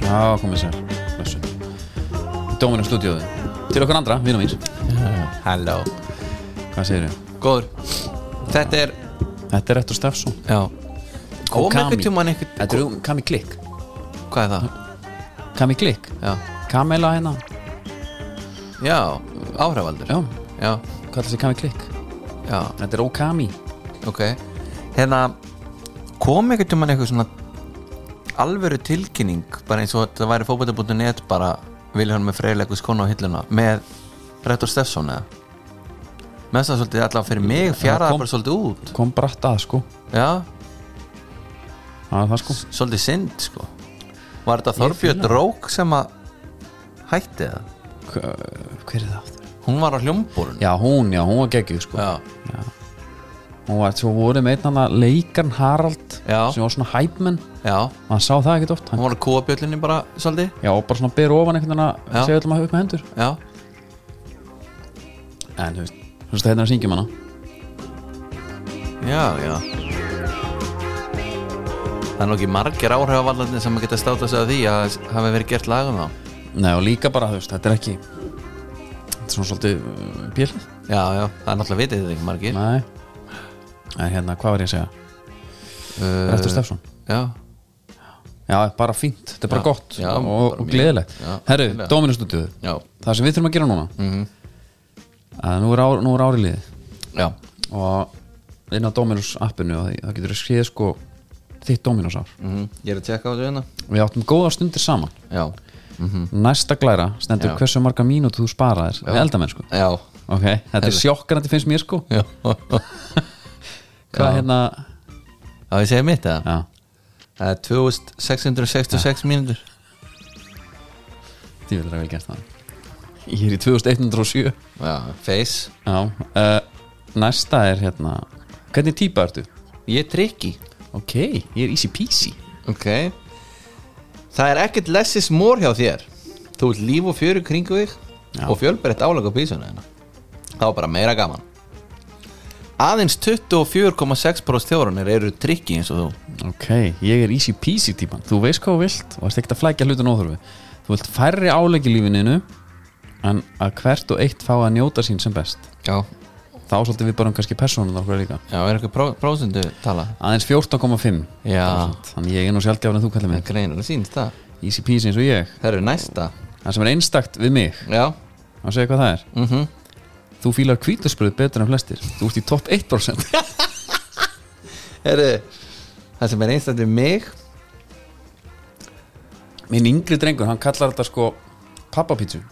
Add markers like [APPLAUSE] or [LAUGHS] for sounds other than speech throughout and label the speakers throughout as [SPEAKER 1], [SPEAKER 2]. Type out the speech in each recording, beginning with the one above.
[SPEAKER 1] þessar blessun Dóminum stúdíóðu Til okkur andra, vinum míns
[SPEAKER 2] Hello
[SPEAKER 1] Hvað segir þau?
[SPEAKER 2] Góður Þetta er
[SPEAKER 1] Þetta er Rettur Steffsson
[SPEAKER 2] Já Kom einhvern tímann einhvern
[SPEAKER 1] Þetta er Kami Klikk
[SPEAKER 2] Hvað er það?
[SPEAKER 1] Kami Klikk
[SPEAKER 2] Já
[SPEAKER 1] Kamela hérna
[SPEAKER 2] Já Áhræfaldur
[SPEAKER 1] Já,
[SPEAKER 2] Já
[SPEAKER 1] hvað er þessi Kami Klikk?
[SPEAKER 2] Já
[SPEAKER 1] Þetta er Okami
[SPEAKER 2] Ok Hérna Kom einhvern tímann einhver svona Alvöru tilkynning Bara eins og þetta væri fótbolti.net Bara Vilhelm með freyleikus konu á hilluna Með Rettur Steffsson eða Með þess að svolítið allavega fyrir mig
[SPEAKER 1] Já,
[SPEAKER 2] Fjaraði
[SPEAKER 1] kom.
[SPEAKER 2] bara svolítið út
[SPEAKER 1] Kom bratt að sko
[SPEAKER 2] Já
[SPEAKER 1] Það er það sko
[SPEAKER 2] svolítið synd sko var þetta Þorbjörn Rók sem að hætti það
[SPEAKER 1] Hver er það aftur?
[SPEAKER 2] hún var á hljómborun
[SPEAKER 1] Já, hún, já, hún var geggjuð sko
[SPEAKER 2] já,
[SPEAKER 1] Hún var, svo voru með einn hann leikarn Harald
[SPEAKER 2] Já.
[SPEAKER 1] Sem var svona hæpmenn
[SPEAKER 2] já,
[SPEAKER 1] Hann sá það ekkert oft hann,
[SPEAKER 2] hún var á kúabjöllinni bara svolítið
[SPEAKER 1] Já, og bara svona ber ofan einhvern veginn
[SPEAKER 2] Já.
[SPEAKER 1] að segja öllum að hafa upp með hendur
[SPEAKER 2] já,
[SPEAKER 1] En þú veist, þú veist þetta er að syngjum hana
[SPEAKER 2] já, já það er nú ekki margir áhrifavallandi sem að geta státa sig að því að það hafi verið gert lag um þá
[SPEAKER 1] Nei og líka bara, þú veist, þetta er ekki Þetta er svona svolítið uh, pjölið
[SPEAKER 2] já, já, það er náttúrulega vitið þetta ekki margir
[SPEAKER 1] Nei En hérna, hvað var ég að segja? Uh, Rettur Stefsson
[SPEAKER 2] já,
[SPEAKER 1] Já, bara fínt, þetta er bara
[SPEAKER 2] Já.
[SPEAKER 1] gott
[SPEAKER 2] Já,
[SPEAKER 1] og,
[SPEAKER 2] bara
[SPEAKER 1] og
[SPEAKER 2] mjög-
[SPEAKER 1] gleðilegt
[SPEAKER 2] Já, Mhm.
[SPEAKER 1] Herru,
[SPEAKER 2] gleðilega.
[SPEAKER 1] Dóminustúdíuð
[SPEAKER 2] já,
[SPEAKER 1] Það sem við þurfum að gera núna að nú er, ár, nú er ári liðið
[SPEAKER 2] já
[SPEAKER 1] og inn á Dominus appinu og því- það getur skrið sko þitt Dominus ár
[SPEAKER 2] mm ég er að tjekka á þessu hérna
[SPEAKER 1] Við áttum góða stundir saman
[SPEAKER 2] já,
[SPEAKER 1] Næsta glæra stendur
[SPEAKER 2] Mhm. Já.
[SPEAKER 1] hversu marga mínútu þú sparaðir við sko. eldamennsku
[SPEAKER 2] já,
[SPEAKER 1] Ok, þetta er sjokkarandi finnst mér sko
[SPEAKER 2] já
[SPEAKER 1] Hvað hérna
[SPEAKER 2] já, ég segi mitt eða
[SPEAKER 1] Já,
[SPEAKER 2] Það er 2666 mínútur
[SPEAKER 1] því vil það vel gæst það Ég er í 2107
[SPEAKER 2] Já, face
[SPEAKER 1] Já, uh, næsta er hérna Hvernig típa ertu?
[SPEAKER 2] Ég er trikki
[SPEAKER 1] Ok, ég er easy peasy
[SPEAKER 2] Ok Það er ekkert lessis mór hjá þér Þú ert líf og fjöru kringu þig
[SPEAKER 1] Já.
[SPEAKER 2] og fjölbreytt álag á písuna þeirna Það var bara meira gaman Aðeins 24,6% þjórunir eru trikki eins og þú
[SPEAKER 1] Ok, ég er easy peasy típan Þú veist hvað þú vilt og ert ekkert að flækja hlutin óþörfu Þú vilt færri álegg í lífininu En að hvert og eitt fá að njóta sín sem best
[SPEAKER 2] Já,
[SPEAKER 1] Þá svolítið við bara um kannski personum okkur líka
[SPEAKER 2] Já er eitthvað pró prósundu tala
[SPEAKER 1] Aðeins 14,5
[SPEAKER 2] Já.
[SPEAKER 1] Þannig ég er nú sjálfgjafan en þú kallar mig
[SPEAKER 2] Greinlega sínst það
[SPEAKER 1] Easy peasy eins og ég
[SPEAKER 2] Það eru næsta
[SPEAKER 1] Það sem er einstakt við mig
[SPEAKER 2] Já,
[SPEAKER 1] Má segja hvað það er
[SPEAKER 2] mhm
[SPEAKER 1] Þú fílar kvítaspröð betur en flestir Þú ert í topp 1%
[SPEAKER 2] Heru, Það sem er einstættur mig
[SPEAKER 1] Minn yngri drengur, hann kallar þetta sko pappapítsu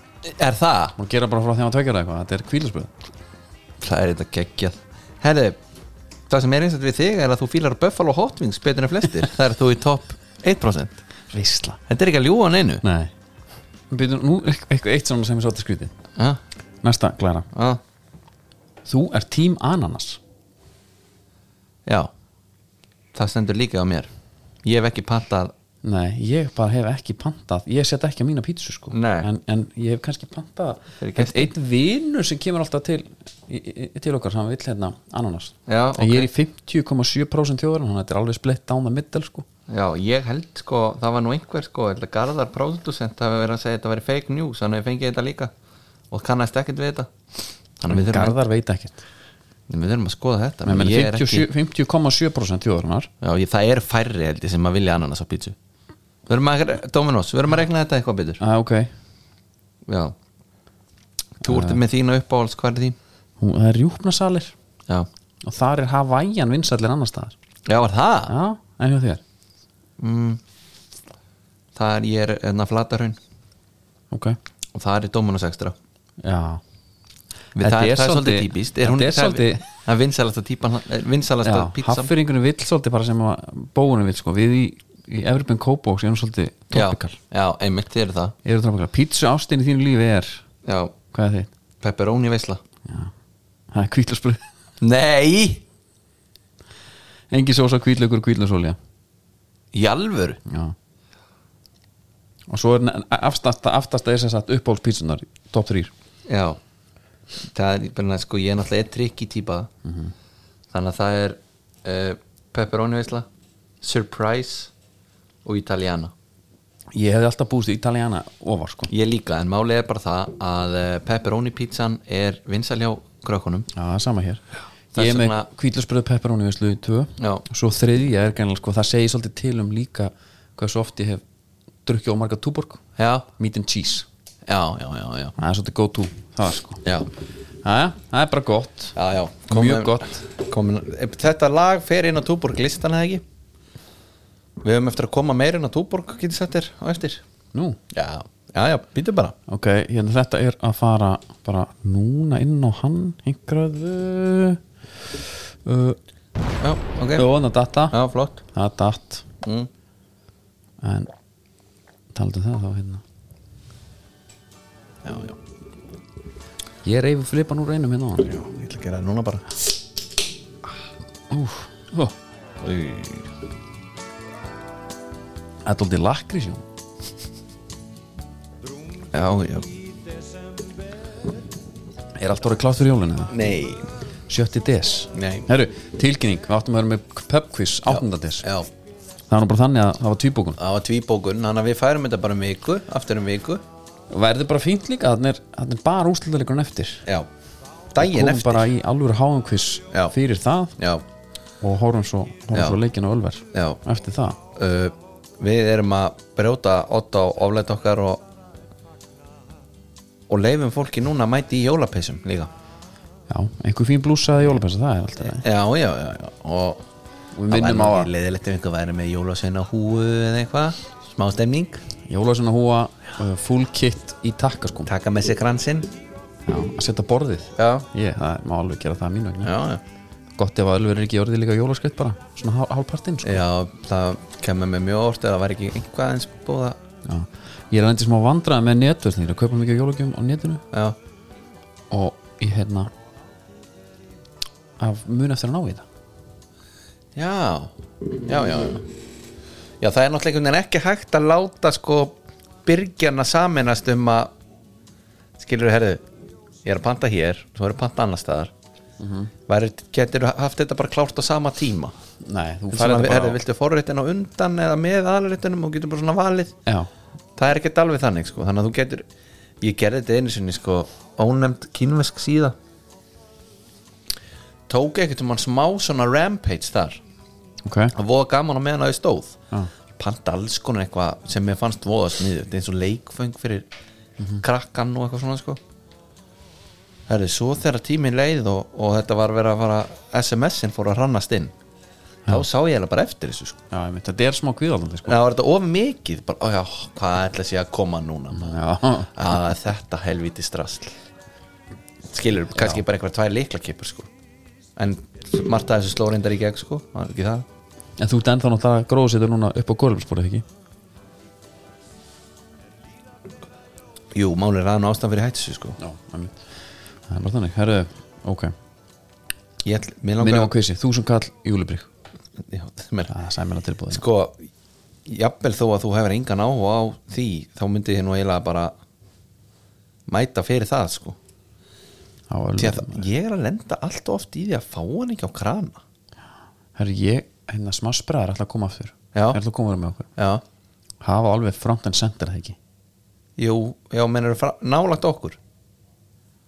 [SPEAKER 2] Er það?
[SPEAKER 1] Má gera bara frá þeim að tveikjara eitthvað Þetta er kvítaspröð
[SPEAKER 2] Það er þetta geggjað Herri, það sem er einstaklega við þig er að þú fílar Buffalo Hot Wings betur en flestir Það er þú í topp 1%
[SPEAKER 1] Veistla
[SPEAKER 2] Þetta er ekki að ljúga hann einu
[SPEAKER 1] Nei Býtum, Nú er eit- eitthvað eitt svona sem er svolítið skrítið
[SPEAKER 2] ha?
[SPEAKER 1] Næsta, Glæra
[SPEAKER 2] Ha?
[SPEAKER 1] Þú er tím ananas
[SPEAKER 2] Já Það stendur líka á mér Ég hef ekki pantað
[SPEAKER 1] Nei, ég bara hef ekki pantað Ég set ekki á mína pítsu sko
[SPEAKER 2] Nei.
[SPEAKER 1] en, en ég hef kannski pantað
[SPEAKER 2] Fyrir
[SPEAKER 1] Einn
[SPEAKER 2] gesti.
[SPEAKER 1] einn vinur sem kemur alltaf til í, í, í- til okkar sem vill hérna ananas
[SPEAKER 2] Já,
[SPEAKER 1] En ég er í 50,7% þjóður Þannig að þetta er alveg splitt down the middle sko
[SPEAKER 2] Já, ég held sko, það var nú einhver sko ég held að Garðar Pródusent hafi verið að segja að þetta væri fake news, þannig að ég fengi þetta líka og kannast ekkert við þetta Þannig að við þurfum,
[SPEAKER 1] Garðar veit ekkert
[SPEAKER 2] að, við þurfum að skoða þetta
[SPEAKER 1] Men, men,
[SPEAKER 2] Ég er
[SPEAKER 1] 50,7%
[SPEAKER 2] ekki-
[SPEAKER 1] 50,7% þjóðurnar
[SPEAKER 2] Já, ég, það er færri held ég sem að vilja ananas á pítsu Verum að, Dominos, verum að regna þetta eitthvað betur
[SPEAKER 1] ah, Ok,
[SPEAKER 2] Já Þú
[SPEAKER 1] Eh.
[SPEAKER 2] ert með þína uppáhalds, hvað er þín?
[SPEAKER 1] Hún, það er rjúpnasalir
[SPEAKER 2] Já
[SPEAKER 1] Og þar er Hawaiian vinsallir annar staðar
[SPEAKER 2] Já, var það?
[SPEAKER 1] Já, en hjá þér
[SPEAKER 2] Mm, það er, ég er enna flatarhun
[SPEAKER 1] Ok
[SPEAKER 2] og það er Dominos extra
[SPEAKER 1] Já
[SPEAKER 2] Við,
[SPEAKER 1] Þetta er
[SPEAKER 2] það, er, það er
[SPEAKER 1] svolítið-
[SPEAKER 2] svolítið típist er
[SPEAKER 1] þetta
[SPEAKER 2] hún,
[SPEAKER 1] er svolítið-
[SPEAKER 2] Það er vinsalasta típan eh, Vinsalasta
[SPEAKER 1] Já,
[SPEAKER 2] pítsa
[SPEAKER 1] haffyringunum vill svolítið bara sem að bóunum vill sko, við í, í Evropin Kóbóks erum svolítið
[SPEAKER 2] já,
[SPEAKER 1] tropikal,
[SPEAKER 2] já, einmitt, þið eru það
[SPEAKER 1] eru tropikal pítsu ástin í þínu lífi er,
[SPEAKER 2] Já,
[SPEAKER 1] hvað er þitt?
[SPEAKER 2] pepperoni veisla
[SPEAKER 1] Já, það er [LAUGHS] kvítlasbröð
[SPEAKER 2] Nei,
[SPEAKER 1] engin sósa, kvítlaugur, kvítlasólja
[SPEAKER 2] í alvöru
[SPEAKER 1] já og svo er ne- aftasta, aftasta er sem sagt uppáhaldspítsunar, top 3
[SPEAKER 2] Já það er, byrna, sko, ég er náttúrulega eitt trikki típa þannig að það er eh, uh, pepperoni veisla surprise og italiana
[SPEAKER 1] Ég hefði alltaf búist í Italiana ofar sko
[SPEAKER 2] Ég líka, en málið er bara það að eh, pepperoni pizzan er vinsal hjá krökkunum
[SPEAKER 1] Já, það er sama hér
[SPEAKER 2] Þess
[SPEAKER 1] Ég er með
[SPEAKER 2] vegna-
[SPEAKER 1] kvítlarsbröð pepperoni veislu í tvö
[SPEAKER 2] Já.
[SPEAKER 1] Svo þriðja er gæmlega sko Það segir svolítið til um líka hvað svo oft ég hef drukkið ómarga túborg
[SPEAKER 2] Já,
[SPEAKER 1] Meat and cheese
[SPEAKER 2] já, já, já Já,
[SPEAKER 1] Það er svolítið go to Það er sko
[SPEAKER 2] já,
[SPEAKER 1] Jæja, það er bara gott
[SPEAKER 2] já, já.
[SPEAKER 1] Mjög gott
[SPEAKER 2] komin, eh, Þetta lag fer inn á Túborg listan eða ekki Við höfum eftir að koma meir inn á Túborg getið sett þér á eftir
[SPEAKER 1] Nú,
[SPEAKER 2] Já, já, já, býtu bara
[SPEAKER 1] ok, hérna þetta er að fara bara núna inn á hann einhverðu uh,
[SPEAKER 2] Já, ok,
[SPEAKER 1] Jó, það datta
[SPEAKER 2] já, flott
[SPEAKER 1] Það er datt
[SPEAKER 2] mm.
[SPEAKER 1] En talaðu það þá hérna
[SPEAKER 2] Já, já,
[SPEAKER 1] Ég reyfi flipan úr einum hérna á hann
[SPEAKER 2] já, ég ætla að gera það núna bara
[SPEAKER 1] Úf, ó,
[SPEAKER 2] Új.
[SPEAKER 1] þetta er aldrei lakri sjón
[SPEAKER 2] Já, já
[SPEAKER 1] Er allt orðið klátt fyrir jólinu það?
[SPEAKER 2] Nei,
[SPEAKER 1] 70 des
[SPEAKER 2] Nei.
[SPEAKER 1] Herru, tilkynning, við áttum að vera með pubquiz 8. des
[SPEAKER 2] já,
[SPEAKER 1] Það var nú bara þannig að það var tvíbókun
[SPEAKER 2] það var tvíbókun Þannig að við færum þetta bara um viku, aftur um viku
[SPEAKER 1] Verður bara fínt líka, þannig er, þarna er bara úrslutaleikurinn eftir
[SPEAKER 2] Já, daginn
[SPEAKER 1] Komum
[SPEAKER 2] eftir
[SPEAKER 1] bara í alvöru háumquiz
[SPEAKER 2] Já.
[SPEAKER 1] fyrir það
[SPEAKER 2] Já,
[SPEAKER 1] og horfum svo,
[SPEAKER 2] Já.
[SPEAKER 1] horfum svo leikin á Ölver
[SPEAKER 2] já
[SPEAKER 1] eftir það
[SPEAKER 2] uh, Við erum að brjóta Otta og oflætt okkar og og leifum fólki núna að mæti í jólapessum líka
[SPEAKER 1] Já, einhver fín blúsa eða jólapessa, það er alltaf
[SPEAKER 2] Já, já, já, já
[SPEAKER 1] Og
[SPEAKER 2] og
[SPEAKER 1] Eh? Við minnum á
[SPEAKER 2] Það væri
[SPEAKER 1] að
[SPEAKER 2] leðilegt ef einhver væri með jólasveina húu eða eitthvað Smá stemning
[SPEAKER 1] jólasinna húa uh, full kit í takkaskum
[SPEAKER 2] Taka með sér kransinn
[SPEAKER 1] Já, að setja borðið
[SPEAKER 2] Já,
[SPEAKER 1] Ég, það er- má alveg gera það að mínu vegna
[SPEAKER 2] já, já
[SPEAKER 1] Gott ef að Ölver er ekki orðið líka jólaskreitt bara Svona hál- hálfpartinn sko.
[SPEAKER 2] Já, það kemur mér mjög orð eða væri ekki einhvað eins búða
[SPEAKER 1] Já. Ég er endið smá vandræði með netverðnir að kaupa mikið jólagjöfum á netinu
[SPEAKER 2] Já,
[SPEAKER 1] og ég hérna af mun eftir að ná í það
[SPEAKER 2] já, já, já Já, já það er náttúrulega einhvern veginn ekki hægt að láta sko byrgjana saminast um að skilur herðu, ég er að panta hér svo er að panta annar staðar mm getur haft þetta bara klárt á sama tíma
[SPEAKER 1] Nei, þú færði
[SPEAKER 2] svona,
[SPEAKER 1] þetta
[SPEAKER 2] herðu,
[SPEAKER 1] bara á
[SPEAKER 2] viltu forréttin á undan eða með aðalréttinum og getur bara svona valið
[SPEAKER 1] Já,
[SPEAKER 2] það er ekkert alveg þannig sko þannig að þú getur, ég gerði þetta einu sinni sko ónefnd kínvesk síða tók ekkert um hann smá svona rampage þar
[SPEAKER 1] ok
[SPEAKER 2] það voða gaman á meðan að ég stóð
[SPEAKER 1] Já.
[SPEAKER 2] panta alls konar eitthvað sem mér fannst voða sniðu, þetta er eins og leikfeng fyrir krakkan og eitthvað svona sko herri, svo þegar tíminn leið og, og þetta var verið að fara SMS-in fór að hrannast inn þá sá ég eiginlega bara eftir þessu sko
[SPEAKER 1] Já, ég veit, þetta er smá kvíðaldandi sko
[SPEAKER 2] það var þetta of mikið bara, ó, já, hvað ætla sé að koma núna maður
[SPEAKER 1] Já,
[SPEAKER 2] að þetta helvíti strasl skilur, kannski bara einhver tvær leiklakipur sko en margt að þessu sló reyndar í gegn sko var ekki það
[SPEAKER 1] en þú ert ennþá náttúrulega gróðsettur núna upp á golfsporið ekki
[SPEAKER 2] jú, málið er aðan ástæðan fyrir hættu þessu sko
[SPEAKER 1] Já, einmitt. það er bara þannig, herru, ok
[SPEAKER 2] ég ætl, mér
[SPEAKER 1] Minnum
[SPEAKER 2] langar
[SPEAKER 1] á kvissi, þúsund kall, júlibrygg
[SPEAKER 2] já, [LAUGHS] mér,
[SPEAKER 1] Það er sæmjöla tilbúðin
[SPEAKER 2] sko, jafnvel þó að þú hefur engan áhuga á því þá myndi ég nú eiginlega bara mæta fyrir það sko
[SPEAKER 1] á
[SPEAKER 2] því
[SPEAKER 1] öllu hérna.
[SPEAKER 2] að það- ég er að lenda allt of oft í því að fá hann ekki á krana
[SPEAKER 1] Herru, ég, hérna smá spraðar ætla að koma aftur
[SPEAKER 2] Já.
[SPEAKER 1] Er að koma vera með okkur
[SPEAKER 2] já,
[SPEAKER 1] Hafa alveg front and center það ekki
[SPEAKER 2] jú, já, mennur nálagt okkur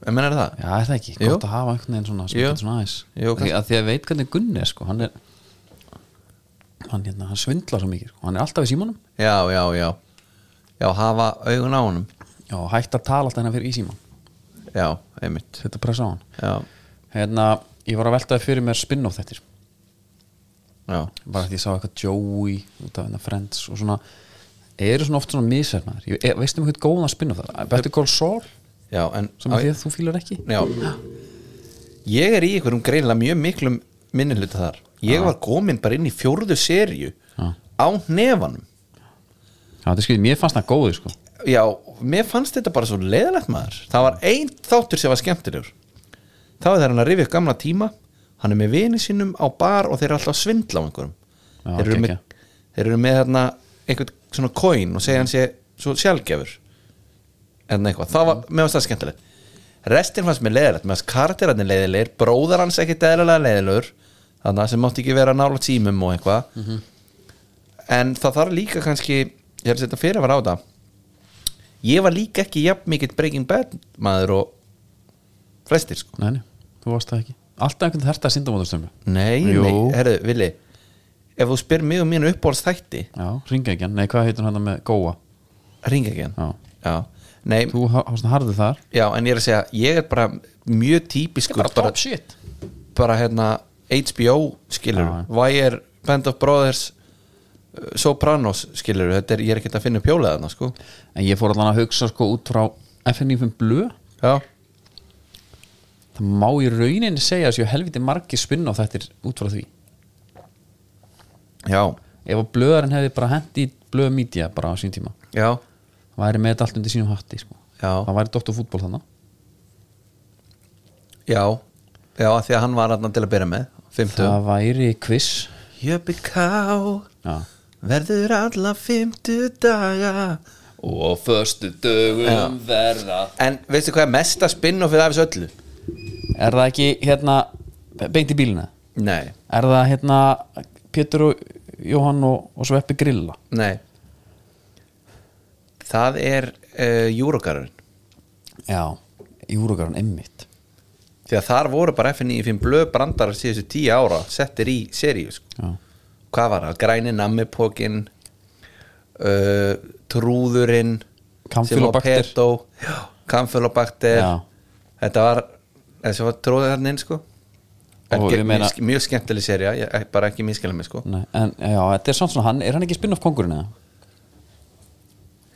[SPEAKER 2] mennur það
[SPEAKER 1] Já, er það ekki,
[SPEAKER 2] Jú.
[SPEAKER 1] gott að hafa einhvern veginn svona sem
[SPEAKER 2] Jú.
[SPEAKER 1] getur svona aðeins
[SPEAKER 2] Jú,
[SPEAKER 1] Því að því að ég veit hvernig Gunni er sko, hann er hann, hérna, hann svindlar svo mikið, sko. hann er alltaf í símanum
[SPEAKER 2] Já, já, já Já, hafa augun á honum
[SPEAKER 1] Já, hætt að tala alltaf hennar fyrir í síman
[SPEAKER 2] Já, einmitt
[SPEAKER 1] Þetta pressa á hann
[SPEAKER 2] Já,
[SPEAKER 1] Hérna, ég var að veltaði fyrir mér spin-off þettir
[SPEAKER 2] já,
[SPEAKER 1] bara því ég sá eitthvað Joey út af hérna Friends og svona eru svona oft svona misefnaðir Ég- e- veistu um eitthvað góðan spin-off það Better Call Saul
[SPEAKER 2] já en
[SPEAKER 1] sem að því að þú fílar ekki
[SPEAKER 2] Já Ég er í einhverjum greinlega mjög miklum minnihluta þar Ég var komin bara inn í fjórðu serju
[SPEAKER 1] Já.
[SPEAKER 2] á nefanum
[SPEAKER 1] Já, þetta er skriðið, mér fannst það góði sko
[SPEAKER 2] Já, mér fannst þetta bara svo leiðilegt maður Það var einn þáttur sem var skemmtilegur Það var þegar hann að rifja upp gamla tíma Hann er með vini sínum á bar og þeir eru alltaf að svindla á einhverjum
[SPEAKER 1] Já,
[SPEAKER 2] þeir, eru með,
[SPEAKER 1] geggjað.
[SPEAKER 2] þeir eru með þarna einhvern svona coin og segja hann sé svo sjálfgjafur en eitthvað, það var, mér fannst það skemmtilegt restin fannst mér leiðilegt, mér fannst karakterarnir leiðilegir bróðar hans ekkit eðlilega leiðilegur þannig að sem mátti ekki vera nála tímum og eitthvað en það þarf líka kannski ég er að setja fyrir á þetta ég var líka ekki jafn mikill Breaking Bad maður og flestir sko
[SPEAKER 1] Nei, nei, þú varst það ekki Alltaf einhvern þarft að synda mótastömmu
[SPEAKER 2] nei,
[SPEAKER 1] Jú.
[SPEAKER 2] nei, herru, Vili ef þú spyr mig um mínu uppbólstætti
[SPEAKER 1] Já, ringa ekki hann, nei hvað heitir hann með góa
[SPEAKER 2] ringa ekki hann
[SPEAKER 1] Já,
[SPEAKER 2] já, nei,
[SPEAKER 1] þú hafst það harðið þar
[SPEAKER 2] já, en ég er að segja ég er bara mjög típiskur
[SPEAKER 1] shit
[SPEAKER 2] bara hérna HBO skilur,
[SPEAKER 1] Já, já.
[SPEAKER 2] Wire, Band of Brothers uh, Sopranos skilur þetta er, ég er ekkert að finna pjólega þarna sko
[SPEAKER 1] En ég fór allan að hugsa sko út frá FNF um Blö
[SPEAKER 2] já,
[SPEAKER 1] Það má í rauninni segja að séu helviti margir spinn á þettir út frá því
[SPEAKER 2] já,
[SPEAKER 1] Ef að blöðarinn hefði bara hent í blöð media bara á sín tíma
[SPEAKER 2] já
[SPEAKER 1] Það væri með þetta allt undir sínum hatti sko
[SPEAKER 2] já,
[SPEAKER 1] Það væri doktor fútból þannig
[SPEAKER 2] já, já, af því að hann var hann til að byrja með, 50
[SPEAKER 1] Það væri quiz
[SPEAKER 2] Jöpi Ká
[SPEAKER 1] Já
[SPEAKER 2] verður alla 50 daga
[SPEAKER 1] Og förstu dögum
[SPEAKER 2] Já.
[SPEAKER 1] verða
[SPEAKER 2] en veistu hvað er mesta spin-offið af þessu öllu?
[SPEAKER 1] Er það ekki hérna beint í bílina?
[SPEAKER 2] nei,
[SPEAKER 1] Er það hérna Pétur og Jóhann og, og Sveppi Grilla?
[SPEAKER 2] nei það er uh, Júrokarun
[SPEAKER 1] Já, Júrugarun emmitt
[SPEAKER 2] því að þar voru bara F95 blöð brandarar síðustu tíu ára settir í seríu sko.
[SPEAKER 1] Já,
[SPEAKER 2] hvað var það, græni nammipókin uh, trúðurinn
[SPEAKER 1] Kampfylobacter.
[SPEAKER 2] kamfylobakter
[SPEAKER 1] Já.
[SPEAKER 2] þetta var þessi var trúður þarna inn sko En
[SPEAKER 1] Og
[SPEAKER 2] ge-
[SPEAKER 1] ég meina-
[SPEAKER 2] mjög, mjög skemmtileg seria, ég, ég- bara ekki miskæla mig sko
[SPEAKER 1] nei, en já, þetta er samt svona hann, er hann ekki spinn-off kongurinn eða?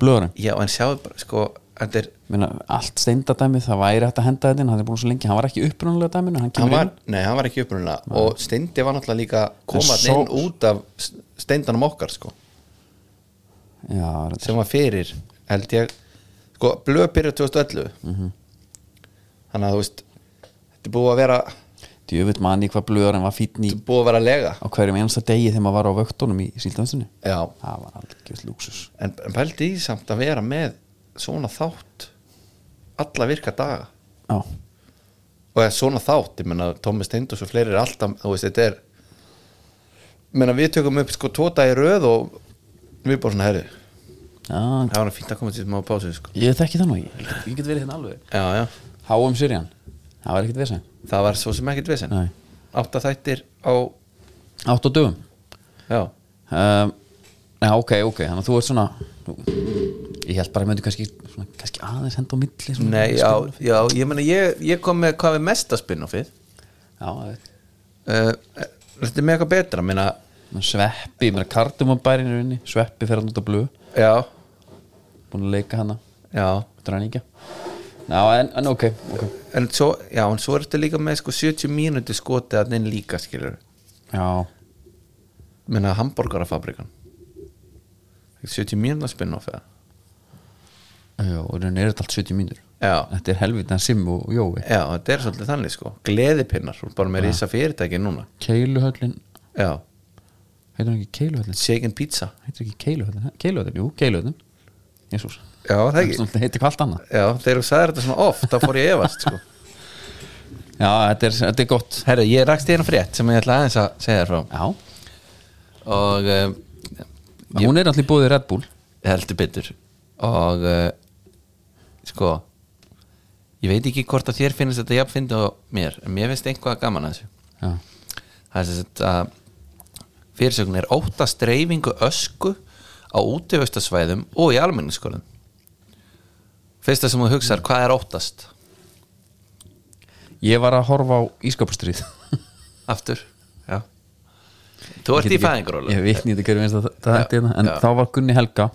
[SPEAKER 1] Blöðurinn
[SPEAKER 2] já en sjáðu bara sko þetta er,
[SPEAKER 1] Meina, allt steindadæmi, það væri hægt að henda þetta inn, hann er búin svo lengi, hann var ekki upprunalega dæminu hann
[SPEAKER 2] hann
[SPEAKER 1] kemur
[SPEAKER 2] var, nei hann var ekki upprunulega og Steindi var náttúrulega líka komað
[SPEAKER 1] svo-
[SPEAKER 2] inn út af S- Steindanum okkar sko
[SPEAKER 1] inn já, reyndar.
[SPEAKER 2] sem var fyrir held ég sko, blöð byrja 2011 þannig að þú veist þetta er búið að vera þetta
[SPEAKER 1] djöfull manni hvað blöðurinn var fítn í
[SPEAKER 2] er búið að vera lega
[SPEAKER 1] á hverjum einasta degi þegar maður var á vöktunum í síldansinu
[SPEAKER 2] já,
[SPEAKER 1] það var algjörð lúksus
[SPEAKER 2] en, en pældi í samt að vera með svona þátt alla virka daga
[SPEAKER 1] já,
[SPEAKER 2] og eða svona þátt, ég menna Tómi Steindus og fleiri er alltaf, þú veist, þetta er ég menna við tökum upp sko tóta í röð og við bara svona herri
[SPEAKER 1] já
[SPEAKER 2] það var fínt að koma til smá pásu sko.
[SPEAKER 1] ég þekki það nú ekki, ég, ég get verið hérna alveg
[SPEAKER 2] já, já,
[SPEAKER 1] háum syrjan, það var ekkert vesen
[SPEAKER 2] það var svo sem ekkert vesen
[SPEAKER 1] Nei.
[SPEAKER 2] átta þættir á
[SPEAKER 1] átt og dögum
[SPEAKER 2] já,
[SPEAKER 1] um, Já, ok, ok, þannig að þú ert svona Ég held bara að ég myndi kannski, svona, kannski aðeins henda á milli svona,
[SPEAKER 2] Nei, já,
[SPEAKER 1] spil-
[SPEAKER 2] já, ég meina ég, ég kom með hvað við mesta spin-offið
[SPEAKER 1] Já, það er-
[SPEAKER 2] uh, Þetta er með eitthvað betra meina,
[SPEAKER 1] menn sveppi, mér er kardum á bærinu inni Sveppi fer hann út á blöð,
[SPEAKER 2] Já,
[SPEAKER 1] búin að leika hana
[SPEAKER 2] já
[SPEAKER 1] Dræningja Já, en, en ok, ok
[SPEAKER 2] En svo, já, en svo ertu líka með sko 70 mínúti skotið að þinn líka skilur
[SPEAKER 1] Já,
[SPEAKER 2] Meina hambúrgarafabrikan 70 mínúti spin-off eða
[SPEAKER 1] já og þannig er þetta allt 70 mínur
[SPEAKER 2] Já,
[SPEAKER 1] Þetta er helvitan Sim og og Jói
[SPEAKER 2] já, þetta er svolítið þannig sko Gleðipinnar, þú ert bara með rísa fyrirtæki núna
[SPEAKER 1] Keiluhöllin,
[SPEAKER 2] Já,
[SPEAKER 1] heitir hann ekki Keiluhöllin
[SPEAKER 2] shaken pizza
[SPEAKER 1] Heitir ekki Keiluhöllin, he? Keiluhöllin, jú, Keiluhöllin Jésús,
[SPEAKER 2] Já, það ekki
[SPEAKER 1] þetta heitir hvað allt annað
[SPEAKER 2] Já, þegar þú sagðir þetta svona oft, þá fór ég að efast sko
[SPEAKER 1] Já, þetta er, þetta er gott
[SPEAKER 2] Herra, ég rakst í hérna frétt sem ég ætla aðeins að segja þér frá
[SPEAKER 1] Já,
[SPEAKER 2] og uh,
[SPEAKER 1] hún er allir búið í Red Bull
[SPEAKER 2] heldur betur og uh, sko ég veit ekki hvort að þér finnst þetta jafn fyndi og mér, en mér finnst einhvað gaman að þessu
[SPEAKER 1] Já,
[SPEAKER 2] það er þess að fyrirsögn er óttast dreifingu ösku á útivöstasvæðum og í almenningsskólum fyrsta sem þú hugsar, hvað er óttast
[SPEAKER 1] Ég var að horfa á Ískapastrið
[SPEAKER 2] aftur, já þú ert í fæðingarólu
[SPEAKER 1] Ég vitni þetta hverju minnst að það hætti hérna En
[SPEAKER 2] já.
[SPEAKER 1] þá var Gunni Helga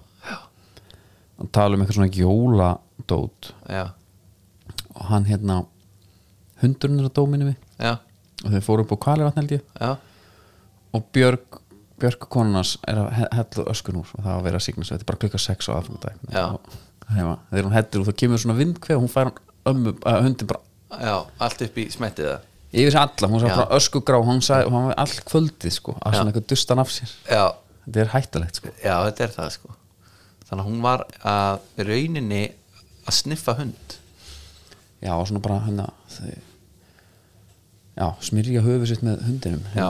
[SPEAKER 1] að tala um eitthvað svona jóladót
[SPEAKER 2] já,
[SPEAKER 1] og hann hérna hundurinn er að dóminu við
[SPEAKER 2] já,
[SPEAKER 1] og þau fóru upp á Kvalirvatn held ég
[SPEAKER 2] já
[SPEAKER 1] og Björg, Björg konunars er að he- hella öskun úr og það var að vera að signa svo þetta er bara klukka 6 á aðfangadag
[SPEAKER 2] Já.
[SPEAKER 1] Þegar hún heldur og þá kemur svona vindkveð og hún fær hann ömmu, að hundin bara
[SPEAKER 2] já, allt upp í smettiða
[SPEAKER 1] yfir sig alla, hún sagði
[SPEAKER 2] Já.
[SPEAKER 1] bara öskugrá hún sagði, hún var all kvöldið sko að svona eitthvað dustan af sér,
[SPEAKER 2] já,
[SPEAKER 1] þetta er hættulegt sko
[SPEAKER 2] Já, þetta er það sko Þannig að hún var að rauninni að sniffa hund
[SPEAKER 1] Já, og svona bara hérna þau- Já, smyrja höfuð sitt með hundinum
[SPEAKER 2] Já,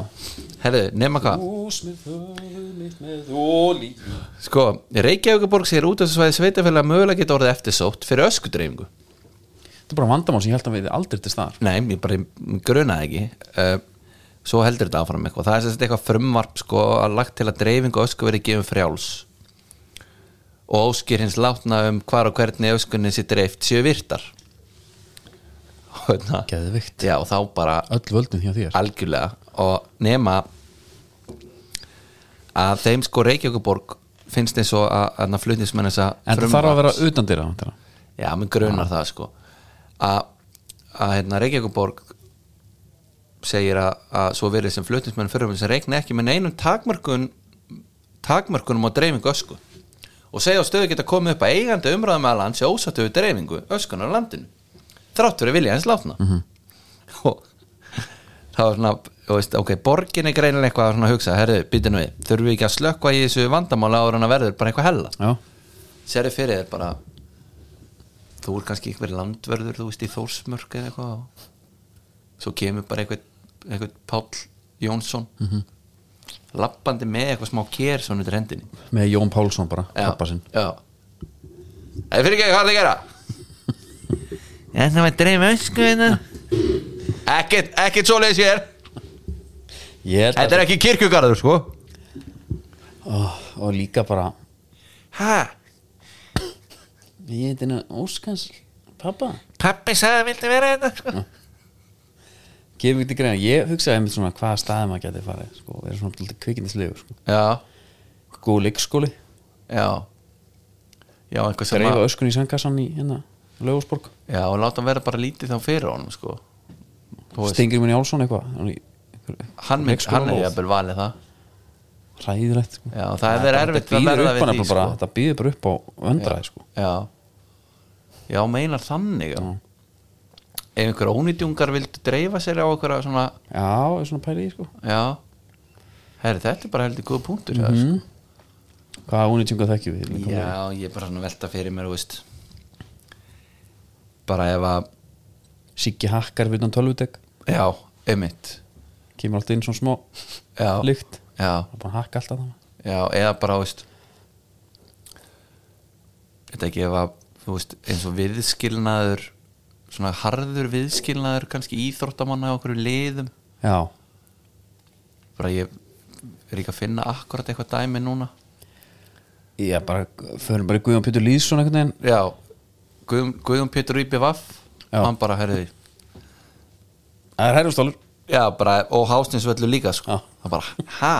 [SPEAKER 2] herðu, nema hvað
[SPEAKER 1] Þú smyrð höfuð mitt með óli
[SPEAKER 2] Sko, Reykjavíkuborg segir út af þessu svæði sveitafélag mögulega geta orðið eftirsótt fyrir öskudreifingu
[SPEAKER 1] Þetta er bara vandamál sem ég held að við aldrei til staðar
[SPEAKER 2] Nei, ég bara ég grunaði ekki uh, Svo heldur þetta áfram eitthvað Það er sem sagt eitthvað frumvarp sko að lagt til að dreifing og ösku verið gefum frjáls og óskir hins látna um hvar og hvernig öskunni sér dreift séu virtar og hérna
[SPEAKER 1] Geðvikt
[SPEAKER 2] Já, og þá bara
[SPEAKER 1] Öll völdin hjá þér
[SPEAKER 2] algjörlega og nema að þeim sko Reykjavíkuborg finnst eins og að, að flutnismenn þessa
[SPEAKER 1] En það þarf að vera utan dýra
[SPEAKER 2] Já, mér grunar það sko að, að hérna Reykjavíkuborg segir að, að svo verið sem flutnismenn fyrirfum sem reikna ekki með neinum takmörkun takmörkunum á dreifingu ösku og segja að stöðu geta komið upp að eigandi umræðum að land sé ósattu við dreifingu öskunar á landinu þrátt fyrir vilja hans látna [LAUGHS] og það var svona og veist, ok, borgin er greinilega eitthvað svona að hugsa, herru, býtum við, þurfum við ekki að slökka í þessu vandamála ára en að verður bara eitthvað hella
[SPEAKER 1] Já,
[SPEAKER 2] Serðu fyrir þér bara Þú er kannski einhver landverður Þú veist í Þórsmörk eða eitthvað og Svo kemur bara einhver, einhver Páll Jónsson
[SPEAKER 1] Mhm.
[SPEAKER 2] Lappandi með eitthvað smá kér Svona undir hendinni
[SPEAKER 1] með Jón Pálsson bara, pappa sinn
[SPEAKER 2] já. Það er fyrir ekki hvað það gera Ég ætla að dreyma ösku hérna. Ekkert, ekkert svo leiðis ég er
[SPEAKER 1] Ég held
[SPEAKER 2] Þetta
[SPEAKER 1] að
[SPEAKER 2] er ekki kirkjugarður sko
[SPEAKER 1] Og líka bara
[SPEAKER 2] Hæ?
[SPEAKER 1] Ég heiti hennar Óskans pappa
[SPEAKER 2] Pappi sagði að vildi vera þetta sko
[SPEAKER 1] Gefum við til greina Ég hugsaði einmitt svona hvaða staði maður geti farið sko. Við erum svona lítið kvikindislegu sko.
[SPEAKER 2] Já,
[SPEAKER 1] Góð leikskóli
[SPEAKER 2] já Já, einhver sem að
[SPEAKER 1] Dreifa öskun í sangkassan í hérna Lögusborg
[SPEAKER 2] Já, og láta hann vera bara lítið þá fyrir honum sko. Þú veist,
[SPEAKER 1] Stingir minni Álsson eitthvað hann í- einhver-
[SPEAKER 2] hann, mynd, hann er
[SPEAKER 1] leikskólalóð.
[SPEAKER 2] jafnvel valið það
[SPEAKER 1] Hræðilegt sko.
[SPEAKER 2] Já, það er verið
[SPEAKER 1] Þetta
[SPEAKER 2] erfitt að
[SPEAKER 1] býður
[SPEAKER 2] verða
[SPEAKER 1] upp
[SPEAKER 2] við
[SPEAKER 1] hann
[SPEAKER 2] því
[SPEAKER 1] bara, bara,
[SPEAKER 2] sko.
[SPEAKER 1] Þetta býður bara upp á öndraði sko.
[SPEAKER 2] Já Já, meinar þannig já.
[SPEAKER 1] Mm.
[SPEAKER 2] Ef einhver ónýtjungar vildu dreifa sér á okkur svona,
[SPEAKER 1] Já, er svona pæli í sko.
[SPEAKER 2] já Herri, þetta er bara heldur góð punktur mm
[SPEAKER 1] Mhm.
[SPEAKER 2] -hmm.
[SPEAKER 1] Hvað unitjunga þekkjum við
[SPEAKER 2] sko.
[SPEAKER 1] líka?
[SPEAKER 2] Já, ég er bara svona að velta fyrir mér, þú veist Bara ef að
[SPEAKER 1] Siggi Hakkar við utan tölvutek
[SPEAKER 2] Já, einmitt
[SPEAKER 1] Kemur alltaf inn svona smá
[SPEAKER 2] Já,
[SPEAKER 1] lykt
[SPEAKER 2] já
[SPEAKER 1] Það er bara að hakka alltaf það
[SPEAKER 2] Já, eða bara, þú veist Þetta ekki ef að þú veist, eins og viðskilnaður svona harður viðskilnaður kannski íþróttamanna á okkur liðum
[SPEAKER 1] Já,
[SPEAKER 2] bara ég er ekki að finna akkurat eitthvað dæmi núna
[SPEAKER 1] ég bara Förum bara í Guðjón Pétur Lýðsson einhvern veginn
[SPEAKER 2] Já, Guðum, Guðum Pétur Íbjö Vaff
[SPEAKER 1] Já.
[SPEAKER 2] hann bara herði
[SPEAKER 1] Það er herjumstálur
[SPEAKER 2] Já, bara, og hástinsvellu líka sko.
[SPEAKER 1] Já.
[SPEAKER 2] það bara, ha?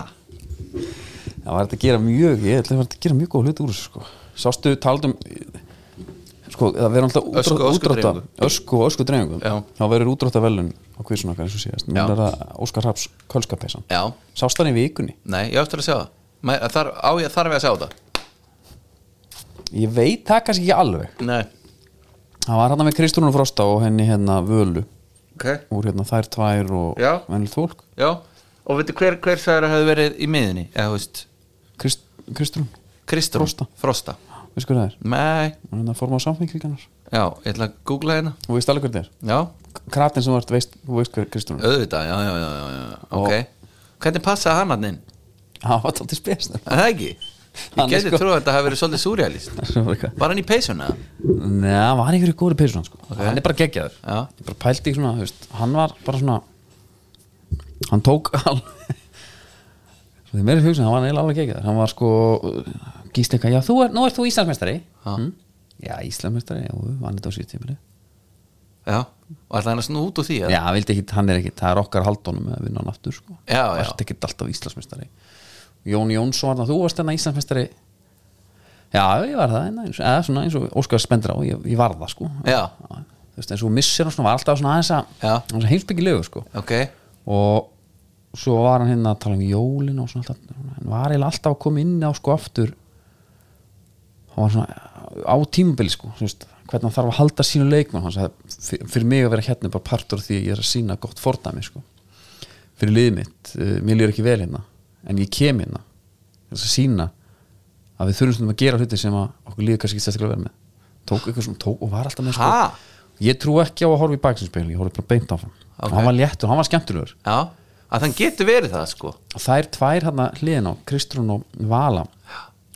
[SPEAKER 1] Það var þetta að gera mjög Ég ætla að vera að gera mjög góð hlut úr þessu sko. Sástu taldum Sko, það verður alltaf útrá-
[SPEAKER 2] Ösku-
[SPEAKER 1] útrátta
[SPEAKER 2] öskudreifingu.
[SPEAKER 1] Ösku og ösku dreifingum
[SPEAKER 2] Já.
[SPEAKER 1] Þá verður útrátta velun á kvísun okkar eins og síðast Nú
[SPEAKER 2] Já.
[SPEAKER 1] er það Óskar Hraps kölskapessan
[SPEAKER 2] Já,
[SPEAKER 1] Sást hann í vikunni
[SPEAKER 2] nei, ég á eftir að sjá það Mæ- þar, á, ég, þarf ég að sjá það
[SPEAKER 1] Ég veit það kannski ekki alveg
[SPEAKER 2] Nei,
[SPEAKER 1] Það var hann með Kristúrun Frosta og henni hérna Völu
[SPEAKER 2] ok
[SPEAKER 1] úr hérna þær tvær og
[SPEAKER 2] Já.
[SPEAKER 1] venlið fólk
[SPEAKER 2] Já, og veitu hver, hver sagður að hafi verið í miðinni, eða þú veist
[SPEAKER 1] Krist, Kristrún,
[SPEAKER 2] Kristrún
[SPEAKER 1] Frosta.
[SPEAKER 2] Frosta.
[SPEAKER 1] veist hvað það er
[SPEAKER 2] Nei,
[SPEAKER 1] hún er hérna að forma á samfenglíkanar
[SPEAKER 2] já, ég ætla að googla hérna
[SPEAKER 1] þú veist alveg hver það er
[SPEAKER 2] Já,
[SPEAKER 1] kratin sem þú ert, veist, þú veist hver Kristrún er
[SPEAKER 2] auðvitað, já, já, já, já, já. ok Hvernig passaði hann hann inn?
[SPEAKER 1] það var tóttið [LAUGHS] spesn
[SPEAKER 2] Er Það ekki? Ég
[SPEAKER 1] Hann er
[SPEAKER 2] geti
[SPEAKER 1] sko-
[SPEAKER 2] trúið að þetta hafi verið svolítið súrjálist
[SPEAKER 1] neða,
[SPEAKER 2] Var hann í peysuna?
[SPEAKER 1] var einhverju góri peysun sko. hann er bara geggjaður
[SPEAKER 2] Já.
[SPEAKER 1] ég bara pældi í svona, þú veist, hann var bara svona hann tók [LAUGHS] alveg því meiri fjóksin, hann var eiginlega alveg geggjaður hann var sko, gíst eitthvað já, þú er, nú ert þú Íslandsmeistari
[SPEAKER 2] Ha.
[SPEAKER 1] hm? já, Íslandsmeistari, já, hann er þetta á síðu tímili
[SPEAKER 2] Já, og ætlaði hann að snú út úr því? eða?
[SPEAKER 1] Já, hann vildi ekki, hann er ekki, það er okkar haldunum að vinna hann aftur sko
[SPEAKER 2] Já,
[SPEAKER 1] Það
[SPEAKER 2] já.
[SPEAKER 1] ert ekki alltaf Íslandsmeistari Jón Jónsson var það, þú varst hennar Íslandsmeistari Já, ég var það eins, eða svona eins og Óskar Spendur á, ég, ég var það sko
[SPEAKER 2] Já.
[SPEAKER 1] Þú veist, eins og missir hann svona var alltaf svona aðeins að
[SPEAKER 2] Já.
[SPEAKER 1] aðeins að heimsbyggilegu sko
[SPEAKER 2] Ok,
[SPEAKER 1] og svo var hann hérna að tala um jólin og svona alltaf hann var eiginlega alltaf að koma inn á sko aftur hann var svona á tímabili sko þú veist, hvernig hann þarf að halda sínu leikmann hann sagði, fyr- fyrir mig að vera hérna er bara partur af því að ég er að sína gott fordæmi sko fyrir liðið mitt, uh, mér líður ekki vel hérna en ég kem hérna til þess að sína að við þurfum stundum að gera hluti sem að okkur líður kannski ekki sérstaklega vel með tók eitthvað sem tók og var alltaf með sko
[SPEAKER 2] Ha?
[SPEAKER 1] ég trú ekki á að horfa í baksinspegil ég horfði bara beint áfram
[SPEAKER 2] Ok.
[SPEAKER 1] hann var léttur, hann var skemmtilegur
[SPEAKER 2] já, að þann getur verið það sko
[SPEAKER 1] þær tvær hérna hliðin á Kristrún og Vala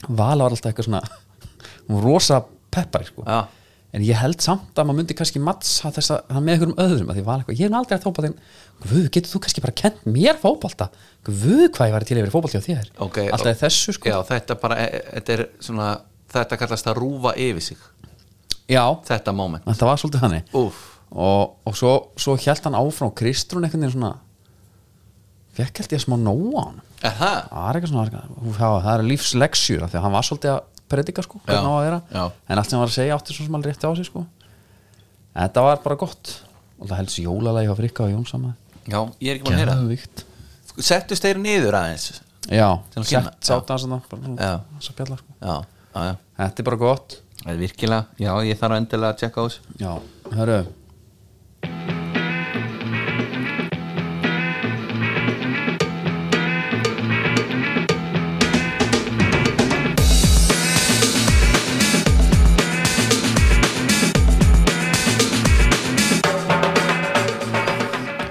[SPEAKER 1] Vala var alltaf eitthvað svona [LAUGHS] hún var rosa peppar sko.
[SPEAKER 2] Já.
[SPEAKER 1] en ég held samt að maður myndi kannski mattsa þess að hann með einhverjum öðrum að því Vala eitthvað, ég hef nú aldrei að fótbolta en guð, getur þú kannski bara kent mér fótbolta guð, hvað ég var til að vera fótbolta hjá þér
[SPEAKER 2] Ok,
[SPEAKER 1] alltaf
[SPEAKER 2] og-
[SPEAKER 1] í þessu sko
[SPEAKER 2] já, þetta bara, e- e- þetta er svona þetta kallast að rúfa yfir sig
[SPEAKER 1] Já,
[SPEAKER 2] þetta moment
[SPEAKER 1] en það var svolítið þannig
[SPEAKER 2] Úff,
[SPEAKER 1] og, og svo, svo held hann áfram og Kristrún einhvern veginn svona fekk held ég smá nóa á hann
[SPEAKER 2] er það?
[SPEAKER 1] það er eitthvað svona arga- já, það er lífsleksjur af því að hann var svolítið að predika sko, hvernig
[SPEAKER 2] Já,
[SPEAKER 1] á að vera
[SPEAKER 2] já.
[SPEAKER 1] en allt sem hann var að segja átti svo sem hann rétti á sig sko. en þetta var bara gott og það helst jólalagi á Frikka og Jón saman
[SPEAKER 2] Já, ég er ekki búin að heyra
[SPEAKER 1] víkt
[SPEAKER 2] það Settust þeir niður aðeins
[SPEAKER 1] já,
[SPEAKER 2] Til að kynna,
[SPEAKER 1] sett
[SPEAKER 2] já.
[SPEAKER 1] sátt að það bara svona
[SPEAKER 2] Já.
[SPEAKER 1] þessa bjalla sko.
[SPEAKER 2] Já, já, já
[SPEAKER 1] þetta er bara gott
[SPEAKER 2] Það er virkilega, já, ég þarf endilega að tjekka á þessu
[SPEAKER 1] já, hörru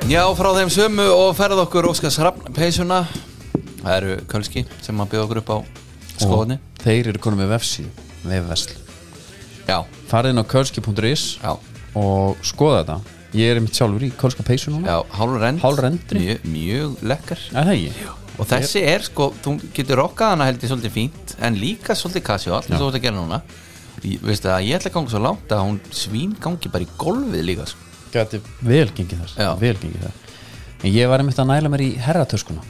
[SPEAKER 2] Já, frá þeim sömu og ferð okkur Óskars Hrafn peysuna Það eru Kölski sem að bjóða okkur upp á skoðni
[SPEAKER 1] og þeir eru konum með vefsi vefvesl
[SPEAKER 2] Já,
[SPEAKER 1] farið inn á kölski.is
[SPEAKER 2] já,
[SPEAKER 1] og skoða þetta ég er mitt sjálfur í kölska peysu núna
[SPEAKER 2] já, hálfrend
[SPEAKER 1] Hálfrendri.
[SPEAKER 2] Mjög, mjög lekkar
[SPEAKER 1] er það ekki?
[SPEAKER 2] Og þessi er sko, þú getur rokkað hana held ég svolítið fínt En líka svolítið kasjál, eins og þú ert að gera núna Ég- Veistu að ég ætla að ganga svo langt að hún svín gangi bara í golfið líka sko.
[SPEAKER 1] gæti vel gengið þar,
[SPEAKER 2] Já.
[SPEAKER 1] vel gengið þar. en ég var einmitt að næla mér í herratöskuna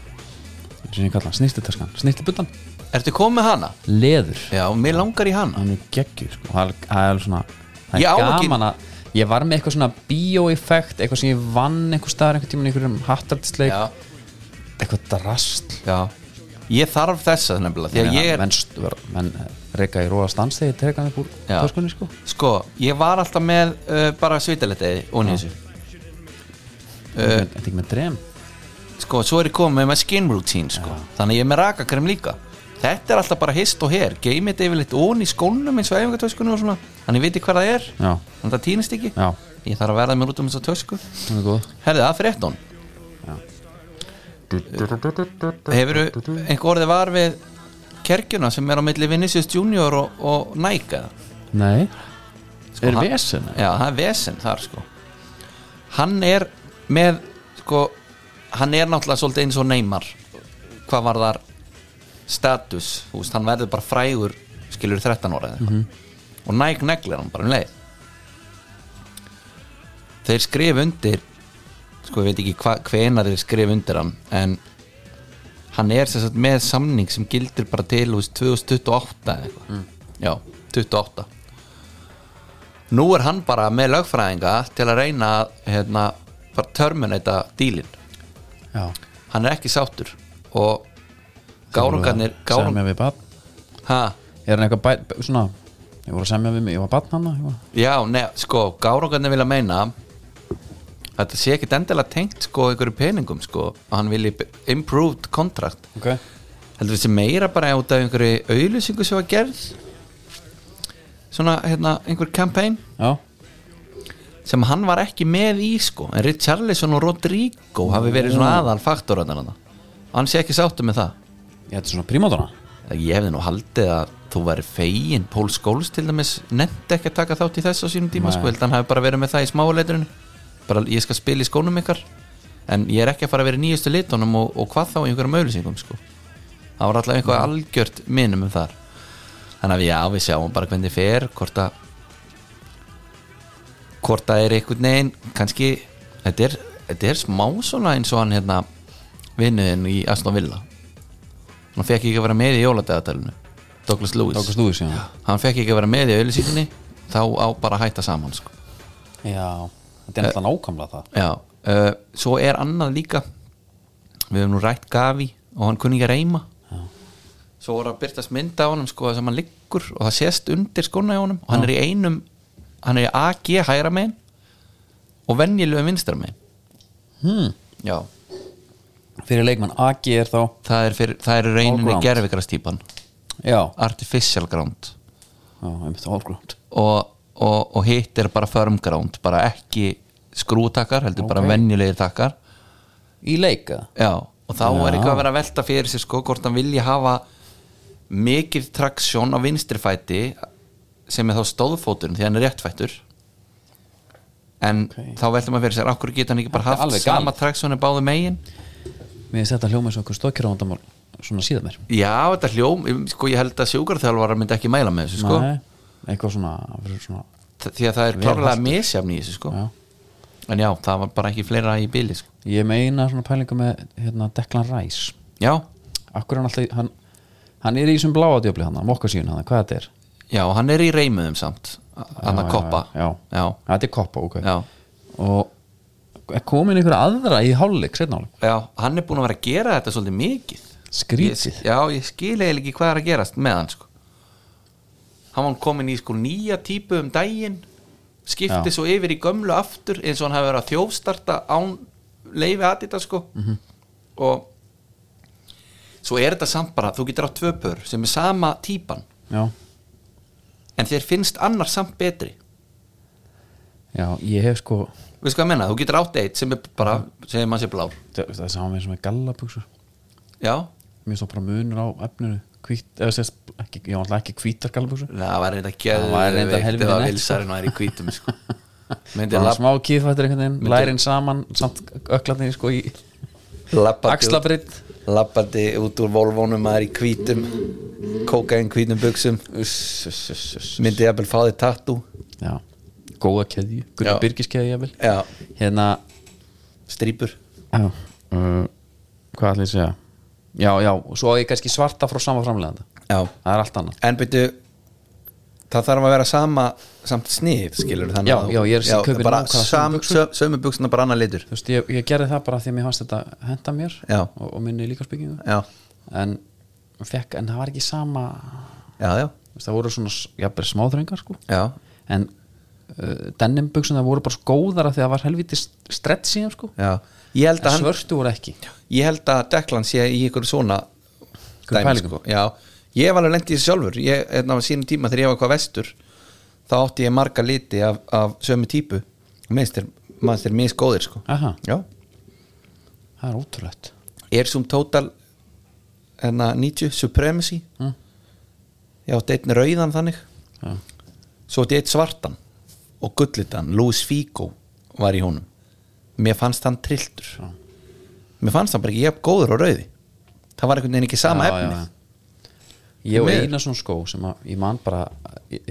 [SPEAKER 1] sem ég kalla snýstitöskan snýstibullan,
[SPEAKER 2] Ertu komið með hana?
[SPEAKER 1] leður
[SPEAKER 2] Já, mér langar í hana
[SPEAKER 1] hann er geggjur sko. það er- það er svona það er
[SPEAKER 2] Ég á ekki-
[SPEAKER 1] gaman að ég var með eitthvað svona bioeffekt eitthvað sem ég vann einhver staðar einhver tíma einhverjum hattartisleik
[SPEAKER 2] Já,
[SPEAKER 1] eitthvað drastl
[SPEAKER 2] já Ég þarf þessa nefnilega Því að ég er
[SPEAKER 1] menn, menn reyka í róa stans þegar ég teka hann upp úr
[SPEAKER 2] Já.
[SPEAKER 1] töskunni sko.
[SPEAKER 2] Sko, ég var alltaf með uh, bara svitaletiði og nýsu Eh.
[SPEAKER 1] uh. þetta er ekki með drem
[SPEAKER 2] Sko, svo er ég komið með skin routine sko. Þannig að ég er með rakakrem líka Þetta er alltaf bara hist og her Geymið þetta yfirleitt ón í skónum eins og æfingatöskunum og svona Þannig ég viti hvað það er
[SPEAKER 1] já,
[SPEAKER 2] Þannig það týnist ekki
[SPEAKER 1] já,
[SPEAKER 2] Ég þarf að verða mér út um þessa tösku
[SPEAKER 1] hún er góð
[SPEAKER 2] Herði, það fyrir ettón Hefur einhver orðið var við kerkjuna sem er á milli Vinicius Junior og, og Nike eða?
[SPEAKER 1] nei, er
[SPEAKER 2] Sko, hann-
[SPEAKER 1] vesen eða?
[SPEAKER 2] Já, það er vesen þar sko Hann er með sko, hann er náttúrulega svolítið eins og neymar hvað var þar status, þú veist, hann verður bara frægur skilur 13 ára eða eitthvað
[SPEAKER 1] Mhm.
[SPEAKER 2] og næg neglir hann bara um leið þeir skrif undir sko, ég veit ekki hva, hvenar þeir skrif undir hann en hann er sem sagt með samning sem gildir bara til, þú veist, 2028 eða eitthvað,
[SPEAKER 1] Mm.
[SPEAKER 2] já, 28 nú er hann bara með lögfræðinga til að reyna að hérna, bara terminata dílin
[SPEAKER 1] já,
[SPEAKER 2] hann er ekki sáttur og gárungarnir gárung,
[SPEAKER 1] sem er við bann
[SPEAKER 2] ha,
[SPEAKER 1] er hann eitthvað bæ, bæ- svona ég voru að semja við mig, ég var barn hann ég var-
[SPEAKER 2] já, ne, sko, gárungarnir vilja meina að þetta sé ekkit endilega tengt sko ykkur peningum sko að hann vilji b- improved contract
[SPEAKER 1] okay.
[SPEAKER 2] heldur þessi meira bara út af einhverju auðlýsingu sem var gerð svona hérna einhver campaign
[SPEAKER 1] já,
[SPEAKER 2] sem hann var ekki með í sko en Richarlison og Rodrigo hafi verið svona aðal faktorarnir hann hann sé ekki sáttu með það
[SPEAKER 1] ég hætti svona prímátona
[SPEAKER 2] ég hefði nú haldið að þú væri fegin Pól Skóls til dæmis nefndi ekki að taka þátt í þess á sínum
[SPEAKER 1] Nei.
[SPEAKER 2] tíma sko held að hann hafi bara verið með það í smáleiturinu bara ég skal spila í skónum ykkar en ég er ekki að fara að vera í nýjustu litunum og, og hvað þá í einhverjum auðlýsingum sko það var alltaf einhver algjört minum um þar þannig að já, við sjáum bara hvernig fer hvort að hvort það er einhvern veginn kannski, þetta er, þetta er smá svona eins og hann hérna vinnuðin í Aston Villa hann fekk ekki að vera með í jóladegatalinu Douglas Lewis
[SPEAKER 1] Douglas Lewis, já.
[SPEAKER 2] hann fekk ekki að vera með í auðlýsingunni þá á bara að hætta saman sko.
[SPEAKER 1] já, þetta er alltaf nákvæmlega það
[SPEAKER 2] já, uh, svo er annað líka við höfum nú rætt Gavi og hann kunni ekki að reyma já. svo voru að byrtast mynda á honum sko, sem hann liggur og það sést undir skona á honum og hann er í einum hann er í AG hægra megin og venjulegu vinstra megin
[SPEAKER 1] hmm.
[SPEAKER 2] já,
[SPEAKER 1] fyrir leikmann AG er þá
[SPEAKER 2] það er, fyrir, það er reyninni
[SPEAKER 1] ground.
[SPEAKER 2] gerfikrastýpan
[SPEAKER 1] já,
[SPEAKER 2] artificial ground
[SPEAKER 1] já, einmitt allground
[SPEAKER 2] og, og, og hitt er bara firm ground bara ekki skrútakkar heldur bara
[SPEAKER 1] Ok.
[SPEAKER 2] venjulegir takkar
[SPEAKER 1] í leika
[SPEAKER 2] já, og þá
[SPEAKER 1] Já.
[SPEAKER 2] er eitthvað að vera að velta fyrir sér sko hvort hann vilji hafa mikið traksjón á vinstrifæti sem er þá stóðfóturinn því hann er réttfættur en
[SPEAKER 1] Ok.
[SPEAKER 2] þá veltum maður fyrir sér okkur geta hann ekki bara
[SPEAKER 1] Þetta er
[SPEAKER 2] haft
[SPEAKER 1] alveg
[SPEAKER 2] sama
[SPEAKER 1] galið.
[SPEAKER 2] traksjónu báðu megin
[SPEAKER 1] mér finnst þetta hljóma eins og okkur stókjörðandamál svona síðan mér
[SPEAKER 2] já, þetta hljóm, sko ég held að sjúkarþjálfara myndi ekki mæla með þessu sko
[SPEAKER 1] Nei, eitthvað svona, fyrir svona
[SPEAKER 2] Þ- því að það er
[SPEAKER 1] Vel
[SPEAKER 2] klárlega
[SPEAKER 1] haltur.
[SPEAKER 2] misjafn í þessu sko
[SPEAKER 1] já.
[SPEAKER 2] en já, það var bara ekki fleira í bili sko.
[SPEAKER 1] ég meina svona pælingu með hérna, Declan Rice
[SPEAKER 2] já,
[SPEAKER 1] akkur er hann alltaf í- hann, hann er í þessum bláa djöfli hann, mokkasíun hann, hvað þetta er
[SPEAKER 2] já, hann er í reymuðum samt hann að
[SPEAKER 1] Já,
[SPEAKER 2] koppa
[SPEAKER 1] já, já.
[SPEAKER 2] já,
[SPEAKER 1] þetta er koppa, ok
[SPEAKER 2] já.
[SPEAKER 1] og er komin einhver aðra í hálfleik setna hálfleik,
[SPEAKER 2] já, hann er búin að vera að gera þetta svolítið mikið
[SPEAKER 1] skrítið
[SPEAKER 2] ég, já, ég skil eiginlega ekki hvað er að gerast með hann sko hann var komin í sko nýja típu um daginn skipti
[SPEAKER 1] Já.
[SPEAKER 2] svo yfir í gömlu aftur eins og hann hafi verið að þjófstarta án leifi aðdita sko og svo er þetta samt bara, þú getur á tvö pör sem er sama típan
[SPEAKER 1] já,
[SPEAKER 2] en þér finnst annar samt betri
[SPEAKER 1] já, ég hef sko
[SPEAKER 2] veistu hvað ég menna, þú getur átt eitt sem er bara sem mann sé blár,
[SPEAKER 1] það það er saman með sem er gallabuxur
[SPEAKER 2] já
[SPEAKER 1] mér stóð bara munur á efninu hvít, eða sérst, ekki, já, alltaf ekki hvítar gallabuxur
[SPEAKER 2] það var reynda
[SPEAKER 1] Það væri reyndar
[SPEAKER 2] geðveikt
[SPEAKER 1] helviti
[SPEAKER 2] eða
[SPEAKER 1] nett,
[SPEAKER 2] vilsarinn væri í hvítum [LAUGHS] sko. myndi
[SPEAKER 1] bara
[SPEAKER 2] lab,
[SPEAKER 1] smá kýðfættir einhvern veginn,
[SPEAKER 2] Myndi-
[SPEAKER 1] lærin saman samt öklarnir sko í
[SPEAKER 2] labbandi, út,
[SPEAKER 1] axlabritt
[SPEAKER 2] labbandi út úr volvónum maður í hvítum kókain hvítum buksum myndi ég að vel fá þig tattu
[SPEAKER 1] já, góða keðju,
[SPEAKER 2] Já.
[SPEAKER 1] Gunnar Birgis keðju ég vil
[SPEAKER 2] já,
[SPEAKER 1] hérna
[SPEAKER 2] strýpur
[SPEAKER 1] já, uh, hvað ætlum ég að segja já, já, og svo á ég kannski svarta frá sama framleganda
[SPEAKER 2] já,
[SPEAKER 1] það er allt annað
[SPEAKER 2] en byrju það þarf að vera sama samt snið skilur þannig
[SPEAKER 1] Já,
[SPEAKER 2] að þú-
[SPEAKER 1] já, ég er að kaupa
[SPEAKER 2] bara
[SPEAKER 1] nákvæmlega
[SPEAKER 2] sam,
[SPEAKER 1] sömu
[SPEAKER 2] sö- sömu buksuna bara annar litur
[SPEAKER 1] þú veist, ég, ég gerði það bara því að mér fannst þetta henda mér
[SPEAKER 2] Já.
[SPEAKER 1] og, og minni líka spykingu
[SPEAKER 2] já,
[SPEAKER 1] en, fekk, en það var ekki sama
[SPEAKER 2] já, já,
[SPEAKER 1] þú veist, það voru svona jafnir smáþröngar sko
[SPEAKER 2] já
[SPEAKER 1] en uh, denimbuksun það voru bara svo góðar að því að það var helviti strett síðan sko
[SPEAKER 2] Já, ég held að,
[SPEAKER 1] en
[SPEAKER 2] hann,
[SPEAKER 1] svörtu voru ekki
[SPEAKER 2] ég held að Deklan sé í ykkur svona
[SPEAKER 1] Einhverjum
[SPEAKER 2] dæmi,
[SPEAKER 1] pælingum.
[SPEAKER 2] sko. Já, ég var alveg lent í þessu sjálfur ég, hérna á sínum tíma þegar ég var hvað vestur þá átti ég marga liti af, af sömu típu minnst er, minnst er misgóðir sko.
[SPEAKER 1] Aha,
[SPEAKER 2] Já,
[SPEAKER 1] það er ótrúlegt
[SPEAKER 2] er sum total hérna 90 supremacy
[SPEAKER 1] Mm.
[SPEAKER 2] ég átti einn rauðan þannig
[SPEAKER 1] Já.
[SPEAKER 2] svo átti ég einn svartan og gullitan, Louis Figo var í honum mér fannst hann trilltur
[SPEAKER 1] Já.
[SPEAKER 2] mér fannst hann bara ekki jafn góður og rauði það var einhvern veginn ekki sama
[SPEAKER 1] Já,
[SPEAKER 2] efni
[SPEAKER 1] já, já. Ég og
[SPEAKER 2] Miður.
[SPEAKER 1] eina svona skó sem að ég man bara að,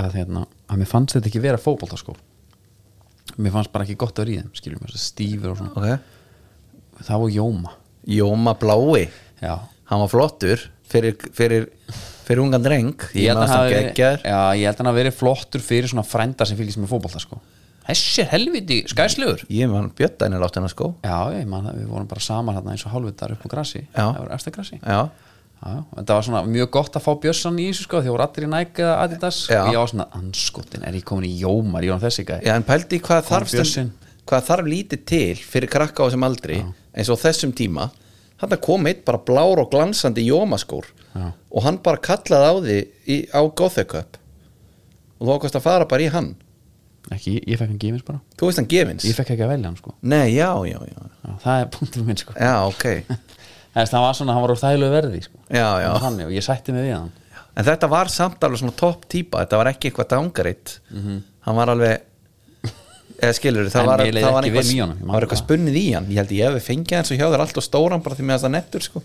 [SPEAKER 1] að, hérna, að mér fannst þetta ekki vera fótboltaskó Mér fannst bara ekki gott að vera í þeim skiljum, þessi stífur og svona
[SPEAKER 2] ok
[SPEAKER 1] Það var Jóma
[SPEAKER 2] Jóma Blái,
[SPEAKER 1] Já
[SPEAKER 2] hann var flottur fyrir, fyrir, fyrir ungan dreng ég
[SPEAKER 1] held að
[SPEAKER 2] maður
[SPEAKER 1] hann
[SPEAKER 2] hann
[SPEAKER 1] hafi verið-
[SPEAKER 2] geggjar
[SPEAKER 1] já, ég held að hann hafi verið flottur fyrir svona frænda sem fylgist með fótboltaskó Þessi er helviti skæslegur
[SPEAKER 2] ég man bjötta henni látt hennar skó
[SPEAKER 1] Já, ég man það, við vorum bara saman hérna eins og hálfvitar upp á grassi
[SPEAKER 2] Já.
[SPEAKER 1] Það var eftir grassi
[SPEAKER 2] já,
[SPEAKER 1] Já, já, þetta var svona mjög gott að fá Björnsson í þessu sko því voru allir í Nike eða Adidas
[SPEAKER 2] Já.
[SPEAKER 1] og ég var svona, anskotin, er ég komin í Jómar ég var þessi gæði,
[SPEAKER 2] Já, en pældi í hvað þarf
[SPEAKER 1] Bjössinn.
[SPEAKER 2] stund, hvað þarf lítið til fyrir krakka á þessum aldri eins og þessum tíma hann kom eitt bara blár og glansandi jómaskór
[SPEAKER 1] Já.
[SPEAKER 2] og hann bara kallaði á því í, á Gothekup og þú ákvæmst að fara bara í hann
[SPEAKER 1] ekki, ég fekk hann gefins bara
[SPEAKER 2] þú veist hann gefins
[SPEAKER 1] ég fekk ekki að velja hann sko
[SPEAKER 2] Nei, já, já, já,
[SPEAKER 1] já, það er punktur minn sko
[SPEAKER 2] já, ok
[SPEAKER 1] Þess, það var svona, hann var úr þæglu verði sko
[SPEAKER 2] Já, já.
[SPEAKER 1] [LAUGHS] Hann var þannig, og ég sætti mig við hann
[SPEAKER 2] en þetta var samt alveg svona topp típa þetta var ekki eitthvað dangaritt hann var alveg eða skilur, það
[SPEAKER 1] Mhm. En
[SPEAKER 2] var,
[SPEAKER 1] ég leið
[SPEAKER 2] það var
[SPEAKER 1] ekki vel í honum,
[SPEAKER 2] eitthvað,
[SPEAKER 1] ég man
[SPEAKER 2] það var eitthvað
[SPEAKER 1] það.
[SPEAKER 2] spunnið í hann ég held ég hefði fengið hann svo hjá þér alltaf stóran bara því með þess að nettur sko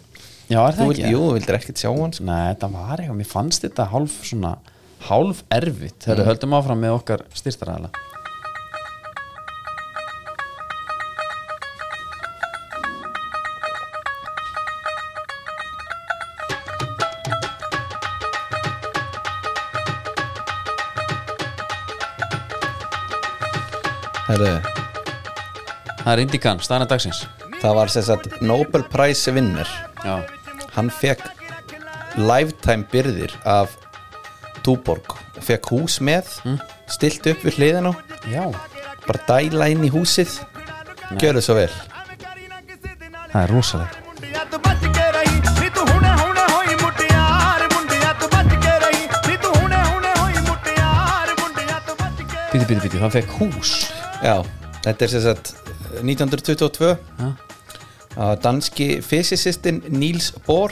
[SPEAKER 1] já, er
[SPEAKER 2] þú
[SPEAKER 1] það
[SPEAKER 2] vildi,
[SPEAKER 1] ekki?
[SPEAKER 2] jú, þú vildir ekkert sjá hann sko.
[SPEAKER 1] Nei, þetta var eitthvað, mér fannst þetta hálf svona hálf erfitt þegar
[SPEAKER 2] Mm.
[SPEAKER 1] við höldum áfram með okkar styrstaræðala
[SPEAKER 2] Herru,
[SPEAKER 1] það er Indikan, staðan dagsins
[SPEAKER 2] það var sem sagt Nobel Prize vinnur
[SPEAKER 1] já,
[SPEAKER 2] hann fekk lifetime byrðir af Túborg fekk hús með,
[SPEAKER 1] Hm?
[SPEAKER 2] stilt upp við hliðina á,
[SPEAKER 1] já.
[SPEAKER 2] bara dæla inn í húsið gjöru svo vel
[SPEAKER 1] það er rosalega
[SPEAKER 3] ਮੁੰਡਿਆ ਤੂੰ ਬਚ ਕੇ ਰਹੀ ਨੀ ਤੂੰ ਹੁਣੇ ਹੁਣੇ ਹੋਈ ਮੁਟਿਆਰ ਮੁੰਡਿਆ ਤੂੰ ਬਚ ਕੇ ਰਹੀ ਨੀ ਤੂੰ ਹੁਣੇ ਹੁਣੇ ਹੋਈ ਮੁਟਿਆਰ ਮੁੰਡਿਆ ਤੂੰ ਬਚ-
[SPEAKER 1] Bíti, bíti, bíti, hann fekk hús
[SPEAKER 2] Já, þetta er sem sagt eh, 1922
[SPEAKER 1] Ha?
[SPEAKER 2] að danski fysicistin Niels Bohr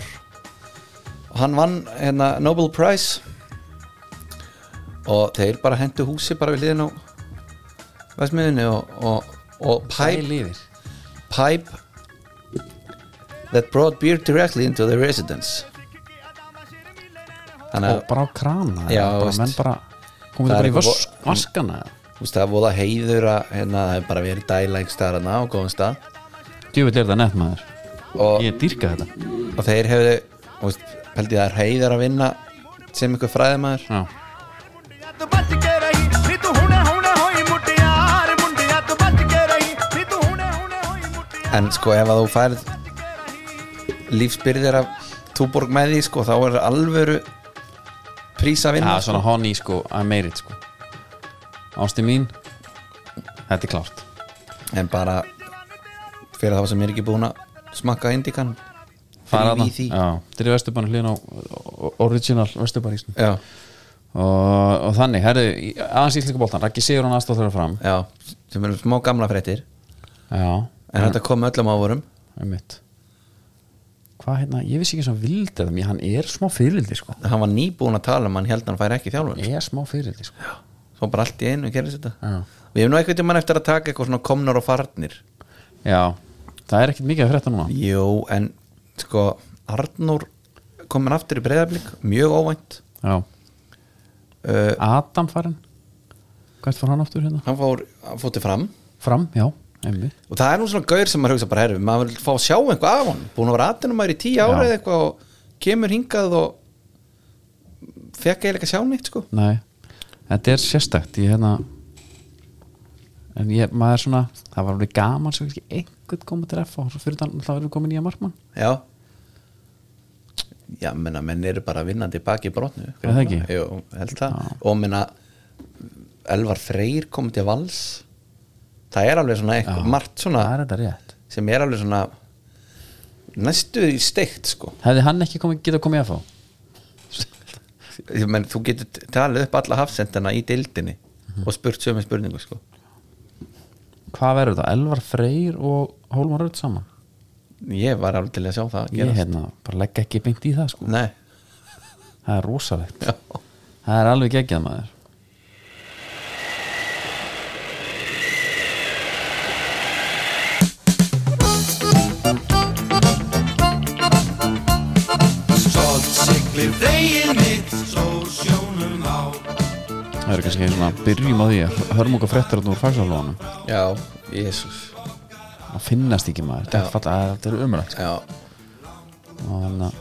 [SPEAKER 2] og hann vann hérna Nobel Prize og þeir bara hendu húsi bara við hliðin á Vestmiðunni og, og, og
[SPEAKER 1] Pæl
[SPEAKER 2] pipe,
[SPEAKER 1] yfir
[SPEAKER 2] pipe that brought beer directly into the residence Þannig
[SPEAKER 1] og
[SPEAKER 2] að
[SPEAKER 1] bara á krana
[SPEAKER 2] Já,
[SPEAKER 1] bara,
[SPEAKER 2] veist.
[SPEAKER 1] menn bara komið
[SPEAKER 2] Það
[SPEAKER 1] það bara
[SPEAKER 2] er
[SPEAKER 1] í
[SPEAKER 2] eitthvað
[SPEAKER 1] vask, vaskana
[SPEAKER 2] þú veist, það er voða heiður að hérna, það er bara verið dælægstaðarna og góðum stað
[SPEAKER 1] djöfull er það nett maður
[SPEAKER 2] og
[SPEAKER 1] ég dýrka þetta
[SPEAKER 2] og þeir hefðu þú veist, held ég það er heiðar að vinna sem einhver fræðimæður
[SPEAKER 1] já.
[SPEAKER 3] तो बच के रही नी तू हुने हुने होई मुटियार मुंडिया तो बच के रही नी तू हुने हुने होई मुटियार
[SPEAKER 2] en sko ef að þú færð lífsbyrðir af túborg með því sko þá er alvöru prís að
[SPEAKER 1] já,
[SPEAKER 2] vinna
[SPEAKER 1] svona honni sko, að meirit sko ásti mín þetta er klárt sko.
[SPEAKER 2] en bara fyrir þá sem er ekki búin að smakka indikan
[SPEAKER 1] Fara þarna.
[SPEAKER 2] í því
[SPEAKER 1] Já, þetta er vesturbanu hlýðin á original vesturbanísnum
[SPEAKER 2] já,
[SPEAKER 1] og, og þannig, herðu, í- aðeins íslika boltan Raggi Sigur hann aðstóð þeirra fram
[SPEAKER 2] já, sem eru smá gamla fréttir
[SPEAKER 1] já,
[SPEAKER 2] en þetta kom öllum ávorum
[SPEAKER 1] einmitt hvað hérna, ég vissi ekki sem vildi þetta mér, hann er smá fyrildi sko
[SPEAKER 2] hann var nýbúin að tala um hann held að hann fær ekki þjálfun
[SPEAKER 1] er smá fyrildi sko já.
[SPEAKER 2] svo bara allt í einu gerðist þetta
[SPEAKER 1] Já.
[SPEAKER 2] við hefum nú eitthvað tímann eftir að taka eitthvað svona komnar og farnir
[SPEAKER 1] það er ekkit mikið að frétta núna
[SPEAKER 2] Jú, en sko Arnur komin aftur í breyðablík mjög óvænt
[SPEAKER 1] já,
[SPEAKER 2] uh,
[SPEAKER 1] Adam farin hvert fór hann aftur hérna?
[SPEAKER 2] hann fór, hann fótti fram
[SPEAKER 1] fram, já, einmitt
[SPEAKER 2] og það er nú svona gaur sem maður hugsa bara herfi maður vil fá að sjá eitthvað af hann búin að vera aðtunum maður í tíu ára
[SPEAKER 1] Já.
[SPEAKER 2] eða eitthvað og kemur hingað og fekk eiginlega ekki að sjá neitt sko
[SPEAKER 1] Nei, þetta er sérstakt ég hérna en ég, maður svona, það var alveg gaman sem ekki einhvern koma til F og svo fyrir þannig þá erum við komin í að markmann
[SPEAKER 2] já já, menna, menn eru bara vinnandi baki í brotnu
[SPEAKER 1] Er það ekki?
[SPEAKER 2] Jú, held það
[SPEAKER 1] Já.
[SPEAKER 2] og menna Elvar Freyr komið til vals það er alveg svona eitthvað, margt svona
[SPEAKER 1] það er þetta rétt
[SPEAKER 2] sem er alveg svona næstu í steikt sko
[SPEAKER 1] Hefði hann ekki komið, geta komið í F
[SPEAKER 2] Ég menn, þú getur t- talið upp alla hafsendana í deildinni og spurt sömu spurningu sko
[SPEAKER 1] Hvað verður það? Elvar Freyr og Hólmar Rödd saman
[SPEAKER 2] ég var alveg til að sjá það
[SPEAKER 1] Ég
[SPEAKER 2] gerast.
[SPEAKER 1] hérna, bara legg ekki beint í það sko
[SPEAKER 2] Nei,
[SPEAKER 1] Það er rosalegt
[SPEAKER 2] já,
[SPEAKER 1] Það er alveg geggjað maður
[SPEAKER 4] Stolt siglir veginn mitt Svo sjónum á
[SPEAKER 1] Það eru kannski svona, byrjum á því að hörum okkur frettur úr fagsalónum
[SPEAKER 2] já, jésus
[SPEAKER 1] Það finnast ekki maður, þetta
[SPEAKER 2] Já.
[SPEAKER 1] er falla- þetta er umrætt
[SPEAKER 2] já,
[SPEAKER 1] og þannig að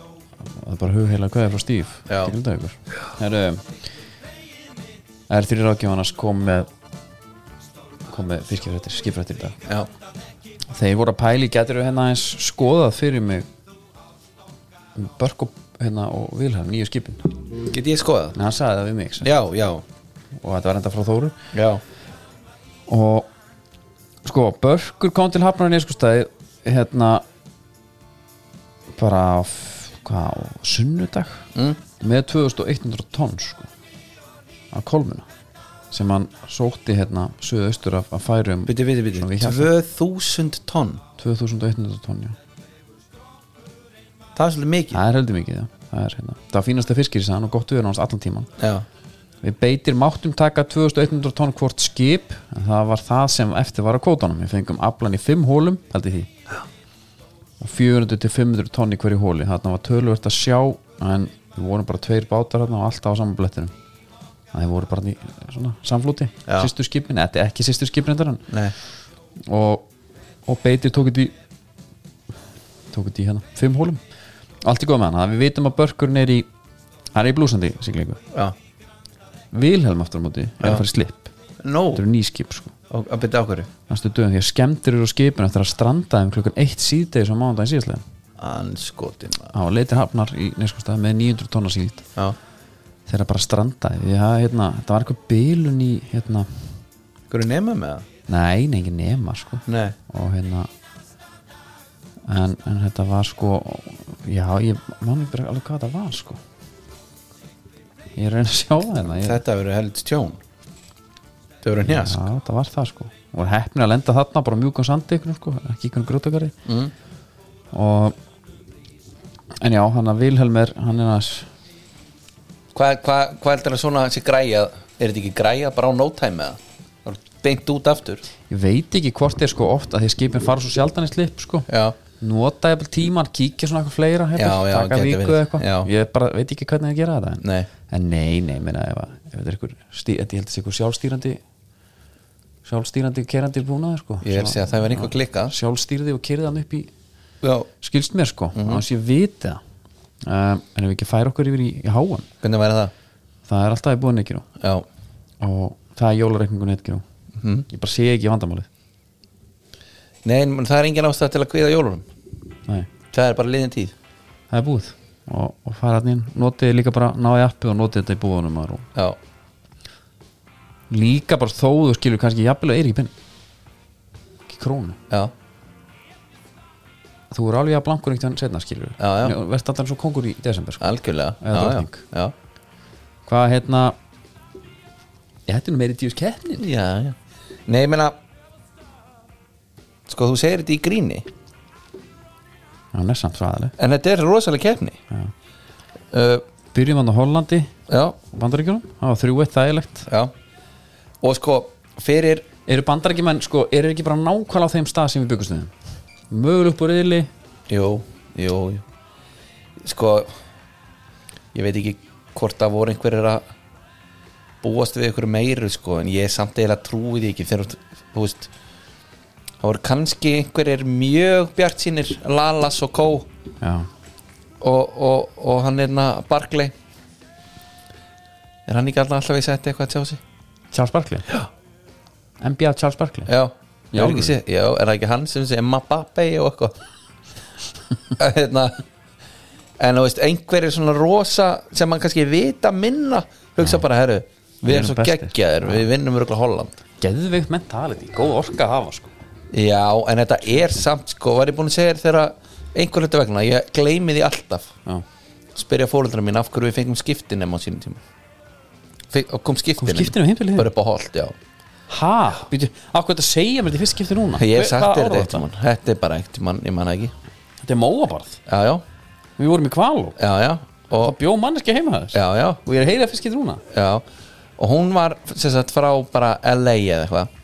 [SPEAKER 1] það er bara hugheila kveðið frá Stíf
[SPEAKER 2] Já.
[SPEAKER 1] til dagur er, er þrjir ágjöfarnas kom með kom með fiskifrættir, skipfrættir í dag
[SPEAKER 2] já,
[SPEAKER 1] þeir voru að pæli, getur þau hérna eins skoðað fyrir mig um Börk og, hérna, og Vilhelm, nýju skipin en
[SPEAKER 2] get ég skoðað
[SPEAKER 1] hann sagði það við mig sem-
[SPEAKER 2] já, já,
[SPEAKER 1] og þetta var enda frá Þóru
[SPEAKER 2] já,
[SPEAKER 1] og sko, Börkur kom til Hafnar Neskustæði hérna bara á f- hvað, á sunnudag mm. með 2100 tonn sko, af kolmuna sem hann sótti hérna suðaustur af, af færum
[SPEAKER 2] byrju, byrju,
[SPEAKER 1] Svona við
[SPEAKER 2] byrju
[SPEAKER 1] hérna.
[SPEAKER 2] 2000 tonn
[SPEAKER 1] 2100 tonn, já
[SPEAKER 2] það er svolítið mikið
[SPEAKER 1] það er heldur mikið, já það er hérna, það var fínasta fiskir í sann og gott við erum hans allan tíman
[SPEAKER 2] já,
[SPEAKER 1] við beitir máttum taka 2100 tonn hvort skip en það var það sem eftir var á kvótanum við fengum aflan í 5 hólum haldið því og 400 til 500 tonn í hverju hóli þarna var tölvöld að sjá en við vorum bara tveir bátar þarna og alltaf á saman blettinum það voru bara í svona samflúti
[SPEAKER 2] Já.
[SPEAKER 1] sýstur skipin, þetta er ekki sýstur skipin þetta
[SPEAKER 2] nei,
[SPEAKER 1] og, og beitir tók þetta í tók þetta í hérna, 5 hólum allt í góð með hana, við vitum að börkurinn er í hann er í blúsandi siglingu
[SPEAKER 2] já
[SPEAKER 1] Vilhelm aftur á móti er að fara í slip
[SPEAKER 2] no,
[SPEAKER 1] þetta eru ný skip sko
[SPEAKER 2] og að byrja ákverju
[SPEAKER 1] næstu dögum því að skemmtir eru á skipinu eftir að stranda um klukkan eitt síðdegis á mánudagin síðastlega
[SPEAKER 2] anskotin, maður.
[SPEAKER 1] á leitir hafnar í neskustæð með 900 tonna síld
[SPEAKER 2] já,
[SPEAKER 1] þegar bara strandaði því að hérna, það var eitthvað bilun í hérna,
[SPEAKER 2] hverju nema með það
[SPEAKER 1] nei, nei, ekki nema sko
[SPEAKER 2] nei,
[SPEAKER 1] og hérna en, en þetta var sko já, ég man ekki bara alveg hvað þetta var sko ég er að reyna að sjá það hérna ég,
[SPEAKER 2] þetta verður held tjón þau eru njast
[SPEAKER 1] Já, það var það sko og hefnir að lenda þarna bara á mjúkan sandi ykkur, sko, ekki ykkur grjótakari mm. og en já, hann að Vilhelm er hann er að
[SPEAKER 2] Hvað hva, hva heldur að svona sé græja er þetta ekki græja bara á no time með það beint út aftur
[SPEAKER 1] ég veit ekki hvort er sko oft að því skipin fara svo sjaldan í slip sko
[SPEAKER 2] Já.
[SPEAKER 1] nota eða tíman, kíkja svona eitthvað fleira hefnir,
[SPEAKER 2] Já, já,
[SPEAKER 1] taka
[SPEAKER 2] geti
[SPEAKER 1] viku
[SPEAKER 2] verið.
[SPEAKER 1] eða eitthvað
[SPEAKER 2] Já.
[SPEAKER 1] ég bara veit ekki hvernig það gera þetta en,
[SPEAKER 2] Nei.
[SPEAKER 1] en nei, nei, minna ef, að- ef þetta er ykkur, stí, þetta ég held að sé ykkur sjálfstýrandi sjálfstýrandi kerandi búnaður sko
[SPEAKER 2] ég er að segja að það var einhver klikka
[SPEAKER 1] sjálfstýrði og kerði hann upp í
[SPEAKER 2] Já.
[SPEAKER 1] skilst mér sko,
[SPEAKER 2] Mhm.
[SPEAKER 1] mm -hmm. þannig að ég viti það um, en ef við ekki færa okkur yfir í, í háan
[SPEAKER 2] hvernig væri það
[SPEAKER 1] það er alltaf í búin ekki nú
[SPEAKER 2] Já.
[SPEAKER 1] og það er jólareikningun ekki nú
[SPEAKER 2] Mhm.
[SPEAKER 1] ég bara sé ekki vandamálið
[SPEAKER 2] Nei, en það er engin ástæð til að kviða jólunum
[SPEAKER 1] Nei,
[SPEAKER 2] það er bara liðin tíð
[SPEAKER 1] það er búið og, og fara hann inn, notið líka bara náði appi og notið þetta í búinum og
[SPEAKER 2] Já.
[SPEAKER 1] líka bara þó þú skilur kannski jafnilega er ekki penning ekki krónu,
[SPEAKER 2] Já. þú
[SPEAKER 1] þú er alveg að blankur eitt hann setna skilur,
[SPEAKER 2] Já, já.
[SPEAKER 1] verðst alltaf svo kongur í desember sko.
[SPEAKER 2] algjörlega
[SPEAKER 1] Eða
[SPEAKER 2] Já,
[SPEAKER 1] drottning.
[SPEAKER 2] já.
[SPEAKER 1] hvað hérna ég hætti nú meiri tíus keppnin
[SPEAKER 2] Já. Já, já. Nei, ég meina sko þú segir þetta í gríni
[SPEAKER 1] hann er samt svaðaleg
[SPEAKER 2] en þetta er rosalega keppni uh,
[SPEAKER 1] byrjum hann á Hollandi
[SPEAKER 2] Já,
[SPEAKER 1] bandaríkjunum, það var þrjú eitt þægilegt
[SPEAKER 2] já og sko fyrir
[SPEAKER 1] eru bandaríkjumenn, sko, eru ekki bara nákvæmlega á þeim stað sem við byggumst þeim möguleg upp úr yðli,
[SPEAKER 2] jú, jú, jú sko ég veit ekki hvort það voru einhverjir að búast við ykkur meiru sko en ég samt eiginlega trúi því ekki þegar þú veist það voru kannski einhverjir mjög bjart sínir Lalas og Kó og,
[SPEAKER 1] já,
[SPEAKER 2] og, og hann er hérna Barkley er hann ekki alltaf alltaf í setti eitthvað að sjá sig
[SPEAKER 1] Charles Barkley já. NBA Charles Barkley
[SPEAKER 2] Já,
[SPEAKER 1] Í
[SPEAKER 2] já,
[SPEAKER 1] alvöru?
[SPEAKER 2] sé, já er það ekki hann sem segir Mbappe og eitthvað hérna, En þú veist, einhver er svona rosa sem mann kannski vita minna hugsa bara, herru, við
[SPEAKER 1] Við
[SPEAKER 2] erum
[SPEAKER 1] erum
[SPEAKER 2] svo
[SPEAKER 1] bestir.
[SPEAKER 2] geggjaðir við vinnum örgulega Holland
[SPEAKER 1] geðveikt mentality, góð orka að hafa sko.
[SPEAKER 2] Já, en þetta er samt, sko, var ég búin að segja þér þegar einhver hlutu vegna, ég gleymi því alltaf
[SPEAKER 1] já,
[SPEAKER 2] spyrja fóröldra mín af hverju við fengum skiptinum á sínum tíma Fek, og kom skiptinum,
[SPEAKER 1] skiptinemi heimfélagið?
[SPEAKER 2] bara upp á holt, já
[SPEAKER 1] ha, býtu, ákveð þetta segja mér þetta í fyrst skipti núna
[SPEAKER 2] ég hef
[SPEAKER 1] Hve-
[SPEAKER 2] sagt
[SPEAKER 1] hvaða ár
[SPEAKER 2] þér þetta
[SPEAKER 1] var
[SPEAKER 2] eitt mann, þetta er bara eitt mann, ég manna ekki
[SPEAKER 1] þetta er móabarð,
[SPEAKER 2] já, já,
[SPEAKER 1] við vorum í kvaló
[SPEAKER 2] já, já og,
[SPEAKER 1] og bjó manneski heima þess
[SPEAKER 2] já, já,
[SPEAKER 1] og ég er að heyra fyrst skipti núna
[SPEAKER 2] já og hún var sem sagt frá bara LA eða eitthvað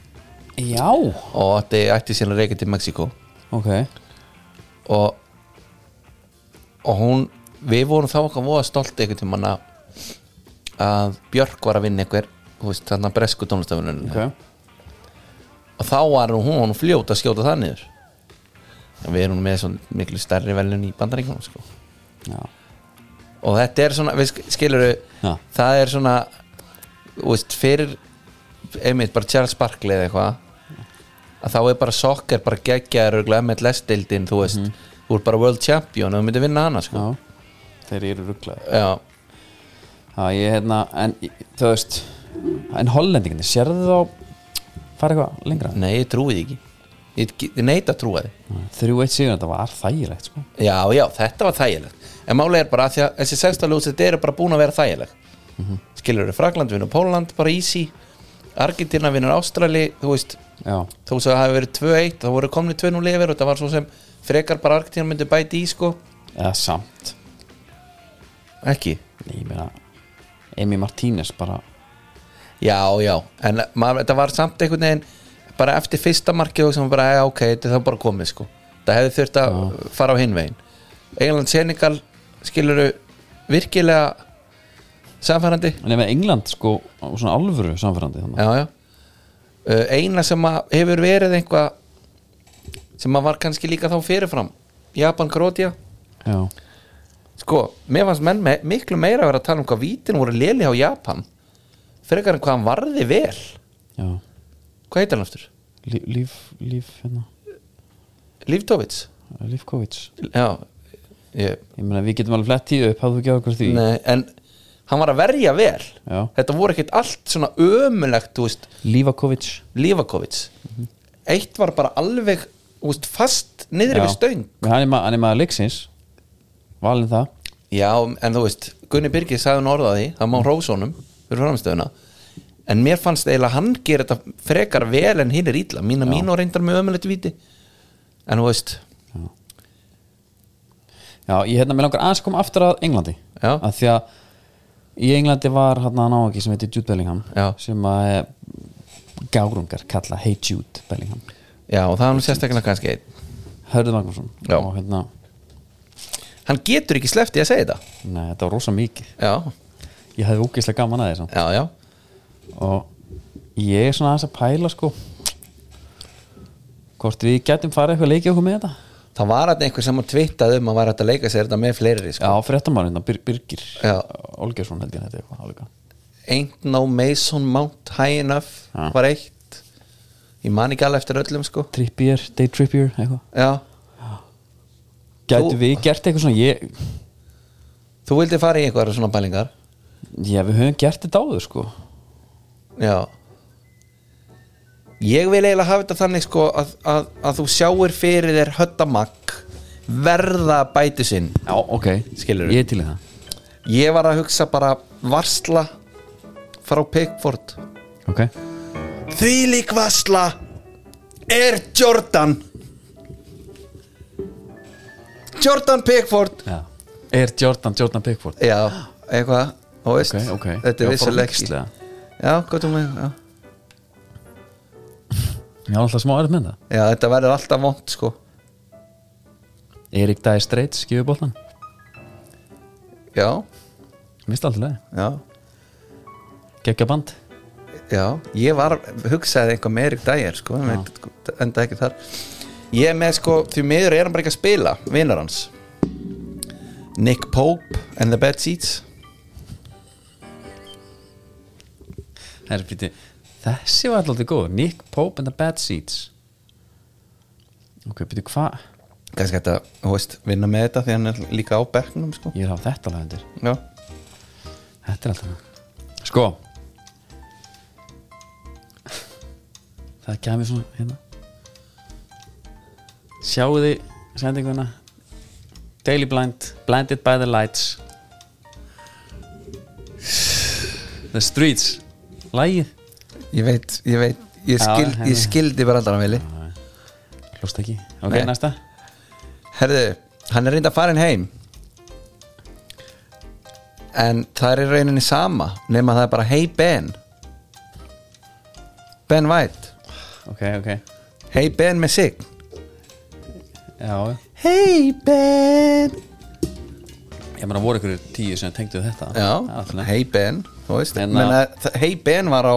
[SPEAKER 1] já,
[SPEAKER 2] og ætti, ætti síðan að reyka til Mexiko
[SPEAKER 1] ok
[SPEAKER 2] og og hún, við vorum þá okkar voða stolt einhvern tímann að að Björk var að vinna einhver þú veist, þarna bresku tónlistafunum
[SPEAKER 1] ok,
[SPEAKER 2] og þá var hún, hún fljóta að skjóta það niður en við erum með svona miklu stærri velun í bandaríkunum sko.
[SPEAKER 1] já,
[SPEAKER 2] og þetta er svona, við skilur
[SPEAKER 1] Já.
[SPEAKER 2] það er svona þú veist, fyrir einmitt bara Charles Barkley eða eitthvað að þá er bara sokkar, bara geggjaður og glemmet lesdeildin, þú veist þú er bara world champion og þú myndir vinna hana sko.
[SPEAKER 1] Mhm. já þeir eru rugglaði
[SPEAKER 2] já.
[SPEAKER 1] Já, ég hérna, en þú veist En hollendinginni, sérðu þá fara eitthvað lengra?
[SPEAKER 2] nei, ég trúi því ekki ég, ge- ég neita að trúa því
[SPEAKER 1] 3-1 sigur, þetta var þægilegt sko.
[SPEAKER 2] já, já, þetta var þægilegt en máli er bara að því að þessi sextalús þetta eru bara búin að vera þægileg mm
[SPEAKER 1] Mhm.
[SPEAKER 2] -hmm. skilur þau, Frakland vinnur Póland, bara easy Argentina vinnur Ástrali, þú veist
[SPEAKER 1] Já,
[SPEAKER 2] þó svo að það hefur verið 2-1 þá voru komni 2-0 yfir og það var svo sem frekar bara Argentina myndi bæti í sko
[SPEAKER 1] eða samt
[SPEAKER 2] ekki,
[SPEAKER 1] Nei, ég meina Emi Martínez bara
[SPEAKER 2] já já en maður, þetta var samt einhvern veginn bara eftir fyrsta markið og sem bara ja, ok, þetta er þá bara komið sko það hefði þurft að fara á hinn veginn England Senegal skilur virkilega samfærandi
[SPEAKER 1] En ef England, sko, á svona alvöru samfærandi þannig
[SPEAKER 2] já, já. Uh, eina sem að hefur verið einhvað sem að var kannski líka þá fyrirfram Japan, Grótia
[SPEAKER 1] Já,
[SPEAKER 2] sko, mér fannst menn me miklu meira að vera að tala um hvað vítin voru léli á Japan frekar en hvað hann varði vel
[SPEAKER 1] já
[SPEAKER 2] hvað heitir hann aftur?
[SPEAKER 1] Lí- Líf, líf, hérna
[SPEAKER 2] Líftovits?
[SPEAKER 1] Lífkovits
[SPEAKER 2] Já ég,
[SPEAKER 1] Ég meina, við getum alveg flett í upp hafðu ekki okkur því
[SPEAKER 2] nei, en hann var að verja vel
[SPEAKER 1] Já.
[SPEAKER 2] þetta voru ekkert allt svona ömulegt þú veist,
[SPEAKER 1] Lífakovits
[SPEAKER 2] Lífakovits eitt var bara alveg þú veist, fast niðri við stöng
[SPEAKER 1] Hann er ma- hann er maður leiksins Valin það
[SPEAKER 2] Já, en þú veist, Gunni Birgis sagði nú orðaði, það má hrósa honum fyrir framstöðuna en mér fannst eiginlega hann gera þetta frekar vel en hinn er ítla mína mín og reyndar með ömulegt viti en þú veist,
[SPEAKER 1] Já, ég hérna með langar aðeins að koma aftur að Englandi
[SPEAKER 2] Já.
[SPEAKER 1] að því að í Englandi var hann að ná ekki sem heiti Jude Bellingham
[SPEAKER 2] Já.
[SPEAKER 1] sem að eh, gárungar kalla Hey Jude Bellingham
[SPEAKER 2] já og það er nú sérstaklega kannski einn
[SPEAKER 1] Hörður Magnússon
[SPEAKER 2] Já.
[SPEAKER 1] og hérna,
[SPEAKER 2] hann getur ekki sleppt í að segja þetta
[SPEAKER 1] nei, þetta var rosa mikið
[SPEAKER 2] já,
[SPEAKER 1] ég hefði úkislega gaman að þessan
[SPEAKER 2] já, já,
[SPEAKER 1] og ég er svona aðeins að pæla sko hvort við gætum farið eitthvað að leikja okkur með þetta
[SPEAKER 2] það var þetta einhver sem að tvittað um að var þetta að leika sér þetta með fleiri sko.
[SPEAKER 1] Já, fréttamann hérna, Bir Birgir
[SPEAKER 2] Já.
[SPEAKER 1] Olgjörsson held ég þetta eitthvað álíka.
[SPEAKER 2] Ain't no Mason Mount High Enough
[SPEAKER 1] Já.
[SPEAKER 2] var eitt ég man ekki alveg eftir öllum sko
[SPEAKER 1] Trippier, Day Trippier eitthvað
[SPEAKER 2] já,
[SPEAKER 1] Gætu
[SPEAKER 2] Þú-
[SPEAKER 1] við gert eitthvað svona ég,
[SPEAKER 2] þú vildi fara í eitthvað svona pælingar
[SPEAKER 1] Já, við höfum gert þetta áður sko
[SPEAKER 2] já ég vil eiginlega hafa þetta þannig sko að, að, að þú sjáir fyrir þér höttamakk verða bæti sinn
[SPEAKER 1] Já, ok,
[SPEAKER 2] Skilurðu?
[SPEAKER 1] Ég er til í það
[SPEAKER 2] ég var að hugsa bara varsla frá Pickford
[SPEAKER 1] Ok
[SPEAKER 2] því lík varsla er Jordan Jordan Pickford
[SPEAKER 1] Já. Er Jordan, Jordan Pickford
[SPEAKER 2] Já, eitthvað þú veist,
[SPEAKER 1] Ok, ok
[SPEAKER 2] Þetta er
[SPEAKER 1] Já,
[SPEAKER 2] vissulega ekki
[SPEAKER 1] forvíxlega.
[SPEAKER 2] Já, gott um mig já.
[SPEAKER 1] Ég á alltaf smá aðeins með það
[SPEAKER 2] já, þetta verður alltaf vond sko
[SPEAKER 1] Erik Dæði Streits, skifur boltan
[SPEAKER 2] Já,
[SPEAKER 1] Mist alltaf leið
[SPEAKER 2] já,
[SPEAKER 1] Gekka band
[SPEAKER 2] já Ég var, hugsaði eitthvað með Erik Dæger sko, en veit- enda ekki þar Ég er með sko, því miður er hann bara ekki að spila Vinar hans Nick Pope and the Bad Seats
[SPEAKER 1] Herri, býti Þessi var alltaf góð Nick Pope and the Bad Seeds Ok, býti, hvað
[SPEAKER 2] Kannski hægt að, þú veist, vinna með þetta Því hann er líka á bekknum sko
[SPEAKER 1] Ég er að hafa þetta alveg undir
[SPEAKER 2] Já,
[SPEAKER 1] Þetta er alltaf Sko Það kemur svona hérna Sjáu þið sendinguna Daily Blind Blinded by the lights The streets Lægið
[SPEAKER 2] ég veit, ég veit Ég,
[SPEAKER 1] Já,
[SPEAKER 2] skil,
[SPEAKER 1] henni.
[SPEAKER 2] ég skildi bara alltaf veli
[SPEAKER 1] Hlust ekki Ok,
[SPEAKER 2] Nei.
[SPEAKER 1] næsta
[SPEAKER 2] Herðu, hann er reynda farin heim En það er í rauninni sama Nefn það er bara hey Ben Ben White
[SPEAKER 1] Ok, ok
[SPEAKER 2] Hey Ben með sig
[SPEAKER 1] Já
[SPEAKER 2] Hey Ben
[SPEAKER 1] Ég meina voru ykkur tíu sem tengdu þetta
[SPEAKER 2] Já, Hérna.
[SPEAKER 1] alltaf
[SPEAKER 2] hey Ben Þú veist,
[SPEAKER 1] En
[SPEAKER 2] en, menna, hey Ben var á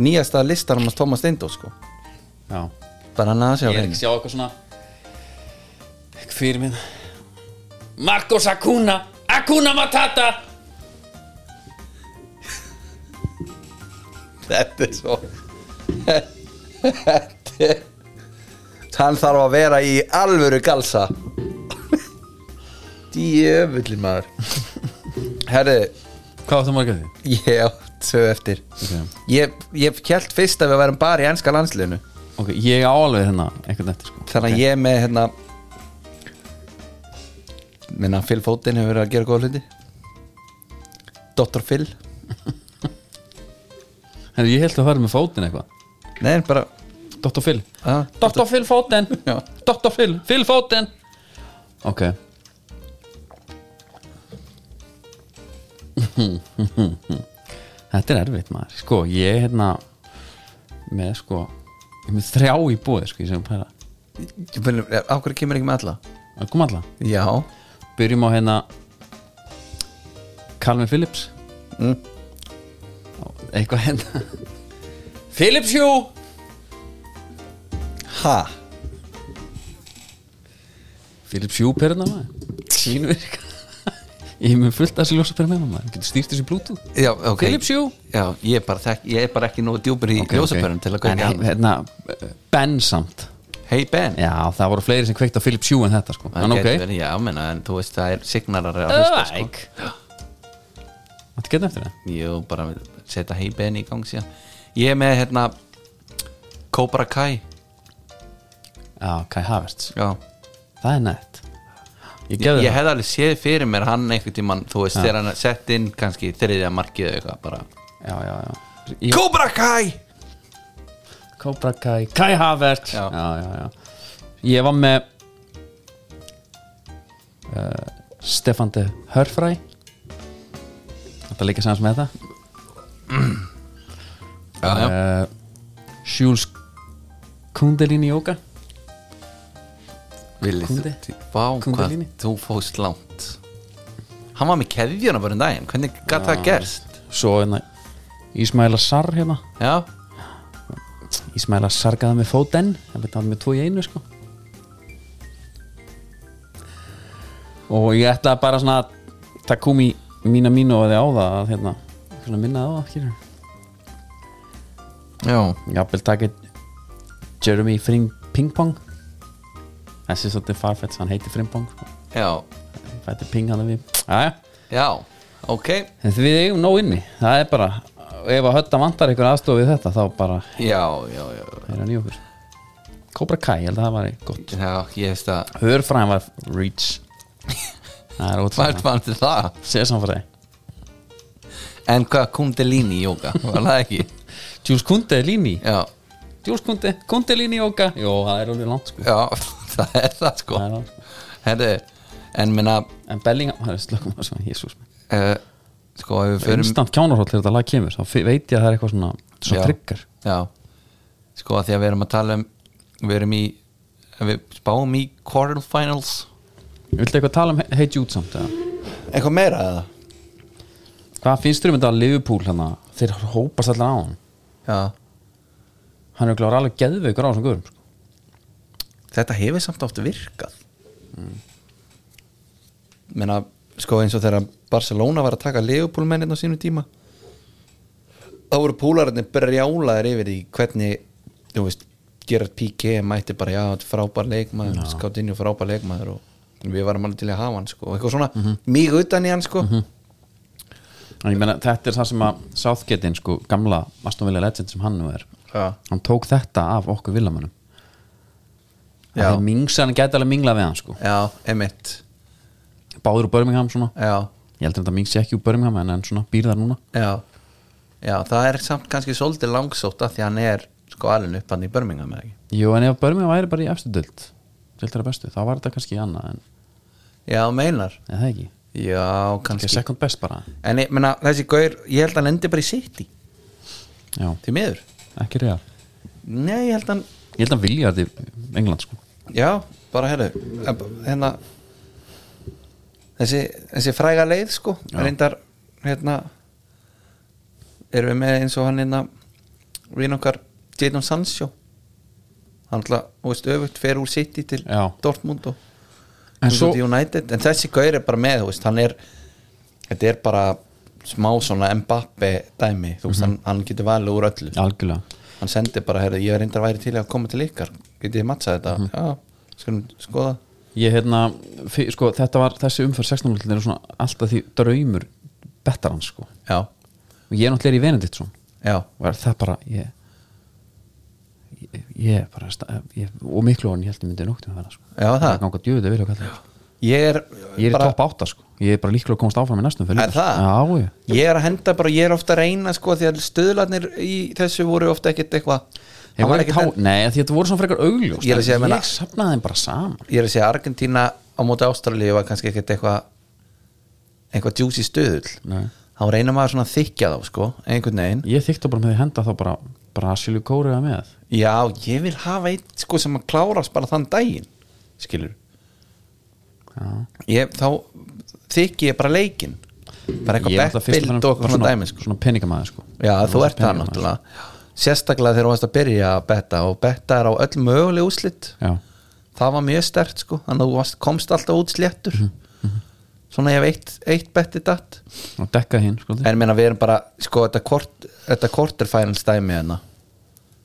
[SPEAKER 2] nýjasta listanum hans Thomas Stindó sko
[SPEAKER 1] Já
[SPEAKER 2] Bara hann að sjá
[SPEAKER 1] Ég er ekki að sjá eitthvað svona Ekki fyrir minn Marcos Acuna Acuna Matata
[SPEAKER 2] Þetta er svo Þetta er Hann þarf að vera í alvöru galsa Djöfulli maður Herri,
[SPEAKER 1] Hvað áttu margir því?
[SPEAKER 2] ég átt þau eftir
[SPEAKER 1] Ok.
[SPEAKER 2] Ég, ég kjælt fyrst að við værum bara í enska landsliðinu
[SPEAKER 1] Ok, ég á alveg hérna eitthvað eftir sko
[SPEAKER 2] Þannig að ég er með hérna Minna Phil Fótinn hefur verið að gera góða hluti Dr. Phil
[SPEAKER 1] Herra, ég held að fara með fótinn eitthvað
[SPEAKER 2] Nei, bara
[SPEAKER 1] Dr. Phil
[SPEAKER 2] ah,
[SPEAKER 1] Dr. Phil [LAUGHS] fótinn
[SPEAKER 2] Já.
[SPEAKER 1] Dr. Phil, Phil fótinn Ok [LAUGHS] Þetta er erfitt maður Sko, ég er hérna með sko ég er með þrjá í búið sko, ég sem pæla
[SPEAKER 2] ég finnum- Á hverju kemur ekki með alla?
[SPEAKER 1] Það kom alla
[SPEAKER 2] Já,
[SPEAKER 1] byrjum á hérna Calvin Phillips
[SPEAKER 2] Mm.
[SPEAKER 1] eitthvað hérna Phillips Hjú
[SPEAKER 2] ha
[SPEAKER 1] Phillips Hjú perna maður sínvirk ég er með fullt að þessi ljósa perna með hérna, maður getur stýrt þessi Bluetooth
[SPEAKER 2] Já, ok
[SPEAKER 1] Philips Hjú
[SPEAKER 2] Já, ég er bara, þekk, ég er bara ekki nógu djúpur í okay, ljósapörun til að kveika
[SPEAKER 1] en
[SPEAKER 2] hann
[SPEAKER 1] hérna Ben samt
[SPEAKER 2] Hey Ben
[SPEAKER 1] já það voru fleiri sem kveikt á Phillips Hjú en þetta sko
[SPEAKER 2] Það
[SPEAKER 1] en ok
[SPEAKER 2] gæti verið, Já, menna, en þú veist það er signarar að hlusta sko.
[SPEAKER 1] Övæk Þetta getur eftir það
[SPEAKER 2] Jú, bara setja Hey Ben í gang síðan Ég er með hérna Cobra Kai
[SPEAKER 1] Já, Kai Havertz
[SPEAKER 2] Já
[SPEAKER 1] Það er nætt Ég
[SPEAKER 2] Ég,
[SPEAKER 1] gefði
[SPEAKER 2] ég
[SPEAKER 1] það
[SPEAKER 2] hefði alveg séð fyrir mér hann einhvern tímann Þú veist, þegar hann er sett inn kannski þriðja markið eða eitthvað bara
[SPEAKER 1] Já, já, já Ég-
[SPEAKER 5] Cobra Kai
[SPEAKER 1] Cobra Kai, Kai Havert
[SPEAKER 5] Já.
[SPEAKER 1] já, já, Ég var með uh, Stefan de Hörfræ Þetta er líka sams með það
[SPEAKER 5] já, já.
[SPEAKER 1] uh, Jules Kundalini Yoga
[SPEAKER 5] Vili,
[SPEAKER 1] Kundi.
[SPEAKER 5] þú, vá, hvað,
[SPEAKER 1] Kundalini.
[SPEAKER 5] þú fóst langt Hann var með keðjuna bara en daginn Hvernig gæti það gerst?
[SPEAKER 1] Svo hérna Ísmaila Sar hérna
[SPEAKER 5] Já,
[SPEAKER 1] Ísmaila Sar gæði með fóten Það byrði með tvo í einu sko Og ég ætla bara svona að Takumi mína mínu og þið á það að, hérna, svona minna á það skilur
[SPEAKER 5] já,
[SPEAKER 1] jafnvel takið Jeremy Fring Pingpong þessi er svolítið farfett hann heitir Frimpong sko.
[SPEAKER 5] já,
[SPEAKER 1] fættir Ping hann við Jæja.
[SPEAKER 5] já Ok,
[SPEAKER 1] en því við eigum nóg inni það er bara, ef að hönda vantar einhver aðstof við þetta þá bara
[SPEAKER 5] já, já, já
[SPEAKER 1] er hann í okkur Cobra Kai, ég held að það var gott
[SPEAKER 5] Já, ég veist að
[SPEAKER 1] Hörfræðan var Reach það er
[SPEAKER 5] Hvað
[SPEAKER 1] ótrúð
[SPEAKER 5] fannst þér það?
[SPEAKER 1] Sesamfræði
[SPEAKER 5] En hvað kundalini yoga, var það ekki?
[SPEAKER 1] Jules Kunde er líni
[SPEAKER 5] Já,
[SPEAKER 1] Jules Kunde, Kunde líni jóka Jó, það er alveg langt sko
[SPEAKER 5] já, [LAUGHS] það er það sko
[SPEAKER 1] Það er langt.
[SPEAKER 5] Herðu, en minna
[SPEAKER 1] En Bellingham, það er slökum að svona, jésús
[SPEAKER 5] uh, Sko, ef við förum
[SPEAKER 1] instant kjánarhóll þegar þetta lag kemur þá fi- veit ég að það er eitthvað svona, svona
[SPEAKER 5] Já.
[SPEAKER 1] tryggar
[SPEAKER 5] Já, sko að því að við erum að tala um Við erum í Við spáum í quarterfinals
[SPEAKER 1] Viltu eitthvað tala um Hey- Hey Jude samt? Eða?
[SPEAKER 2] Eitthvað meira eða?
[SPEAKER 1] Hvað finnst þér um þetta að Liverpool hana? Þeir hópast allar á hann
[SPEAKER 5] Já
[SPEAKER 1] Hann er örugglega alveg geðveikur á þessum guðum sko.
[SPEAKER 2] þetta hefur samt oft virkað menna Mm. sko eins og þegar Barcelona var að taka Leopold-mennin á sínum tíma þá voru púlararnir brjálaðir yfir því hvernig þú veist, Gerard Piqué mætti bara já, þetta er frábær leikmaður, no. skáttinn og frábær leikmaður og við varum alveg til að hafa hann sko, og eitthvað svona, mm mig utan í hann sko
[SPEAKER 1] En ég meina, þetta er það sem að Southgate-in, sko, gamla Aston Villa legend sem hann nú er
[SPEAKER 2] Já.
[SPEAKER 1] Hann tók þetta af okkur villamönnum
[SPEAKER 2] Já.
[SPEAKER 1] Þegar mingsan gæti alveg mingla við hann sko.
[SPEAKER 2] já, emitt
[SPEAKER 1] Báður úr Birmingham svona
[SPEAKER 2] já,
[SPEAKER 1] Ég heldur þetta mingsi ekki úr Birmingham en, en svona býr þar núna
[SPEAKER 2] já, já, það er samt kannski svolítið langsótt að því að hann er sko alveg upp hann í Birmingham eða ekki
[SPEAKER 1] Jú, en ef Birmingham væri bara í efstu dild Dildar að bestu, þá var þetta kannski annað en,
[SPEAKER 2] já, meinar
[SPEAKER 1] en það ekki
[SPEAKER 2] Já,
[SPEAKER 1] Ekki
[SPEAKER 2] kannski
[SPEAKER 1] second best bara
[SPEAKER 2] En ég, menna, þessi gaur, ég held að hann endi bara í City
[SPEAKER 1] Já,
[SPEAKER 2] Því miður
[SPEAKER 1] ekki reyða
[SPEAKER 2] Nei, ég held að hann,
[SPEAKER 1] Ég held að hann vilja þetta í England sko
[SPEAKER 2] já, bara herðu Hérna Þessi, þessi fræga leið, sko
[SPEAKER 1] Já.
[SPEAKER 2] Reyndar, hérna Erum við með eins og hann hérna Vín okkar Jadon Sancho Hann alltaf, þú veist, öfugt fer úr City til
[SPEAKER 1] Já.
[SPEAKER 2] Dortmund og
[SPEAKER 1] En
[SPEAKER 2] en,
[SPEAKER 1] svo,
[SPEAKER 2] United, en þessi gaur er bara með þú veist, hann er þetta er bara smá svona Mbappe dæmi, þú
[SPEAKER 1] Mhm.
[SPEAKER 2] veist, hann, hann getur valið úr öllu
[SPEAKER 1] algjörlega
[SPEAKER 2] hann sendir bara, heyrðu, ég er reyndar væri til í að koma til ykkar getið þið matsað þetta,
[SPEAKER 1] Mhm.
[SPEAKER 2] já, skulum skoða
[SPEAKER 1] Ég hérna, fyr, sko, þetta var þessi umfær 16 er svona alltaf því draumur betar hans sko
[SPEAKER 2] já,
[SPEAKER 1] Og ég er náttúrulega í Venediktsson
[SPEAKER 2] já,
[SPEAKER 1] Og er það bara, ég Ég, ég bara, sta- ég, og miklu hann ég held ég myndi nóttum að vera sko
[SPEAKER 2] já
[SPEAKER 1] Það
[SPEAKER 2] það
[SPEAKER 1] ganga djöðu vilja kalla það
[SPEAKER 2] ég er,
[SPEAKER 1] Ég er í
[SPEAKER 2] bara,
[SPEAKER 1] topp átta sko Ég er bara líklega að komast áfram í næstum fyrir sko.
[SPEAKER 2] Er það?
[SPEAKER 1] Já, ég
[SPEAKER 2] ég er að henda bara, ég er ofta að reyna sko, því að stöðlarnir í þessu voru ofta ekkert eitthvað
[SPEAKER 1] Ég
[SPEAKER 2] hann var
[SPEAKER 1] var ekki
[SPEAKER 2] ekkert
[SPEAKER 1] tá, nei, því þetta voru svona frekar augljós
[SPEAKER 2] Ég er að segja,
[SPEAKER 1] ég
[SPEAKER 2] meina-
[SPEAKER 1] safnaði þeim bara saman
[SPEAKER 2] ég er að segja Argentína á móti Ástralíu var kannski ekkert eitthvað eitthvað djúsi stöðull
[SPEAKER 1] Nei.
[SPEAKER 2] þá reynir maður svona að þykja þá sko einhvern veginn,
[SPEAKER 1] Ég þykta bara með því henda þá bara Brasilu kóriða með
[SPEAKER 2] já ég vil hafa eitt sko sem að klárast bara þann daginn skilur
[SPEAKER 1] Já.
[SPEAKER 2] ég, þá þykji ég bara leikin bara
[SPEAKER 1] Ég er
[SPEAKER 2] eitthvað
[SPEAKER 1] náttúrulega fyrst
[SPEAKER 2] backbild og eitthvað svona dæmi sko.
[SPEAKER 1] Svona peningamæður sko
[SPEAKER 2] já þú
[SPEAKER 1] Rosa
[SPEAKER 2] ert það
[SPEAKER 1] peningamaður.
[SPEAKER 2] náttúrulega sérstaklega þegar þú varst að byrja að betta og betta er á öll möguleg úslit
[SPEAKER 1] Já,
[SPEAKER 2] það var mjög stert sko þannig að þú varst, komst alltaf út sléttur mhm. svona ég hef eitt, eitt betti datt
[SPEAKER 1] og dekka hinn sko
[SPEAKER 2] en ég meina við erum bara sko þetta, kort, þetta quarterfinal stæmi hérna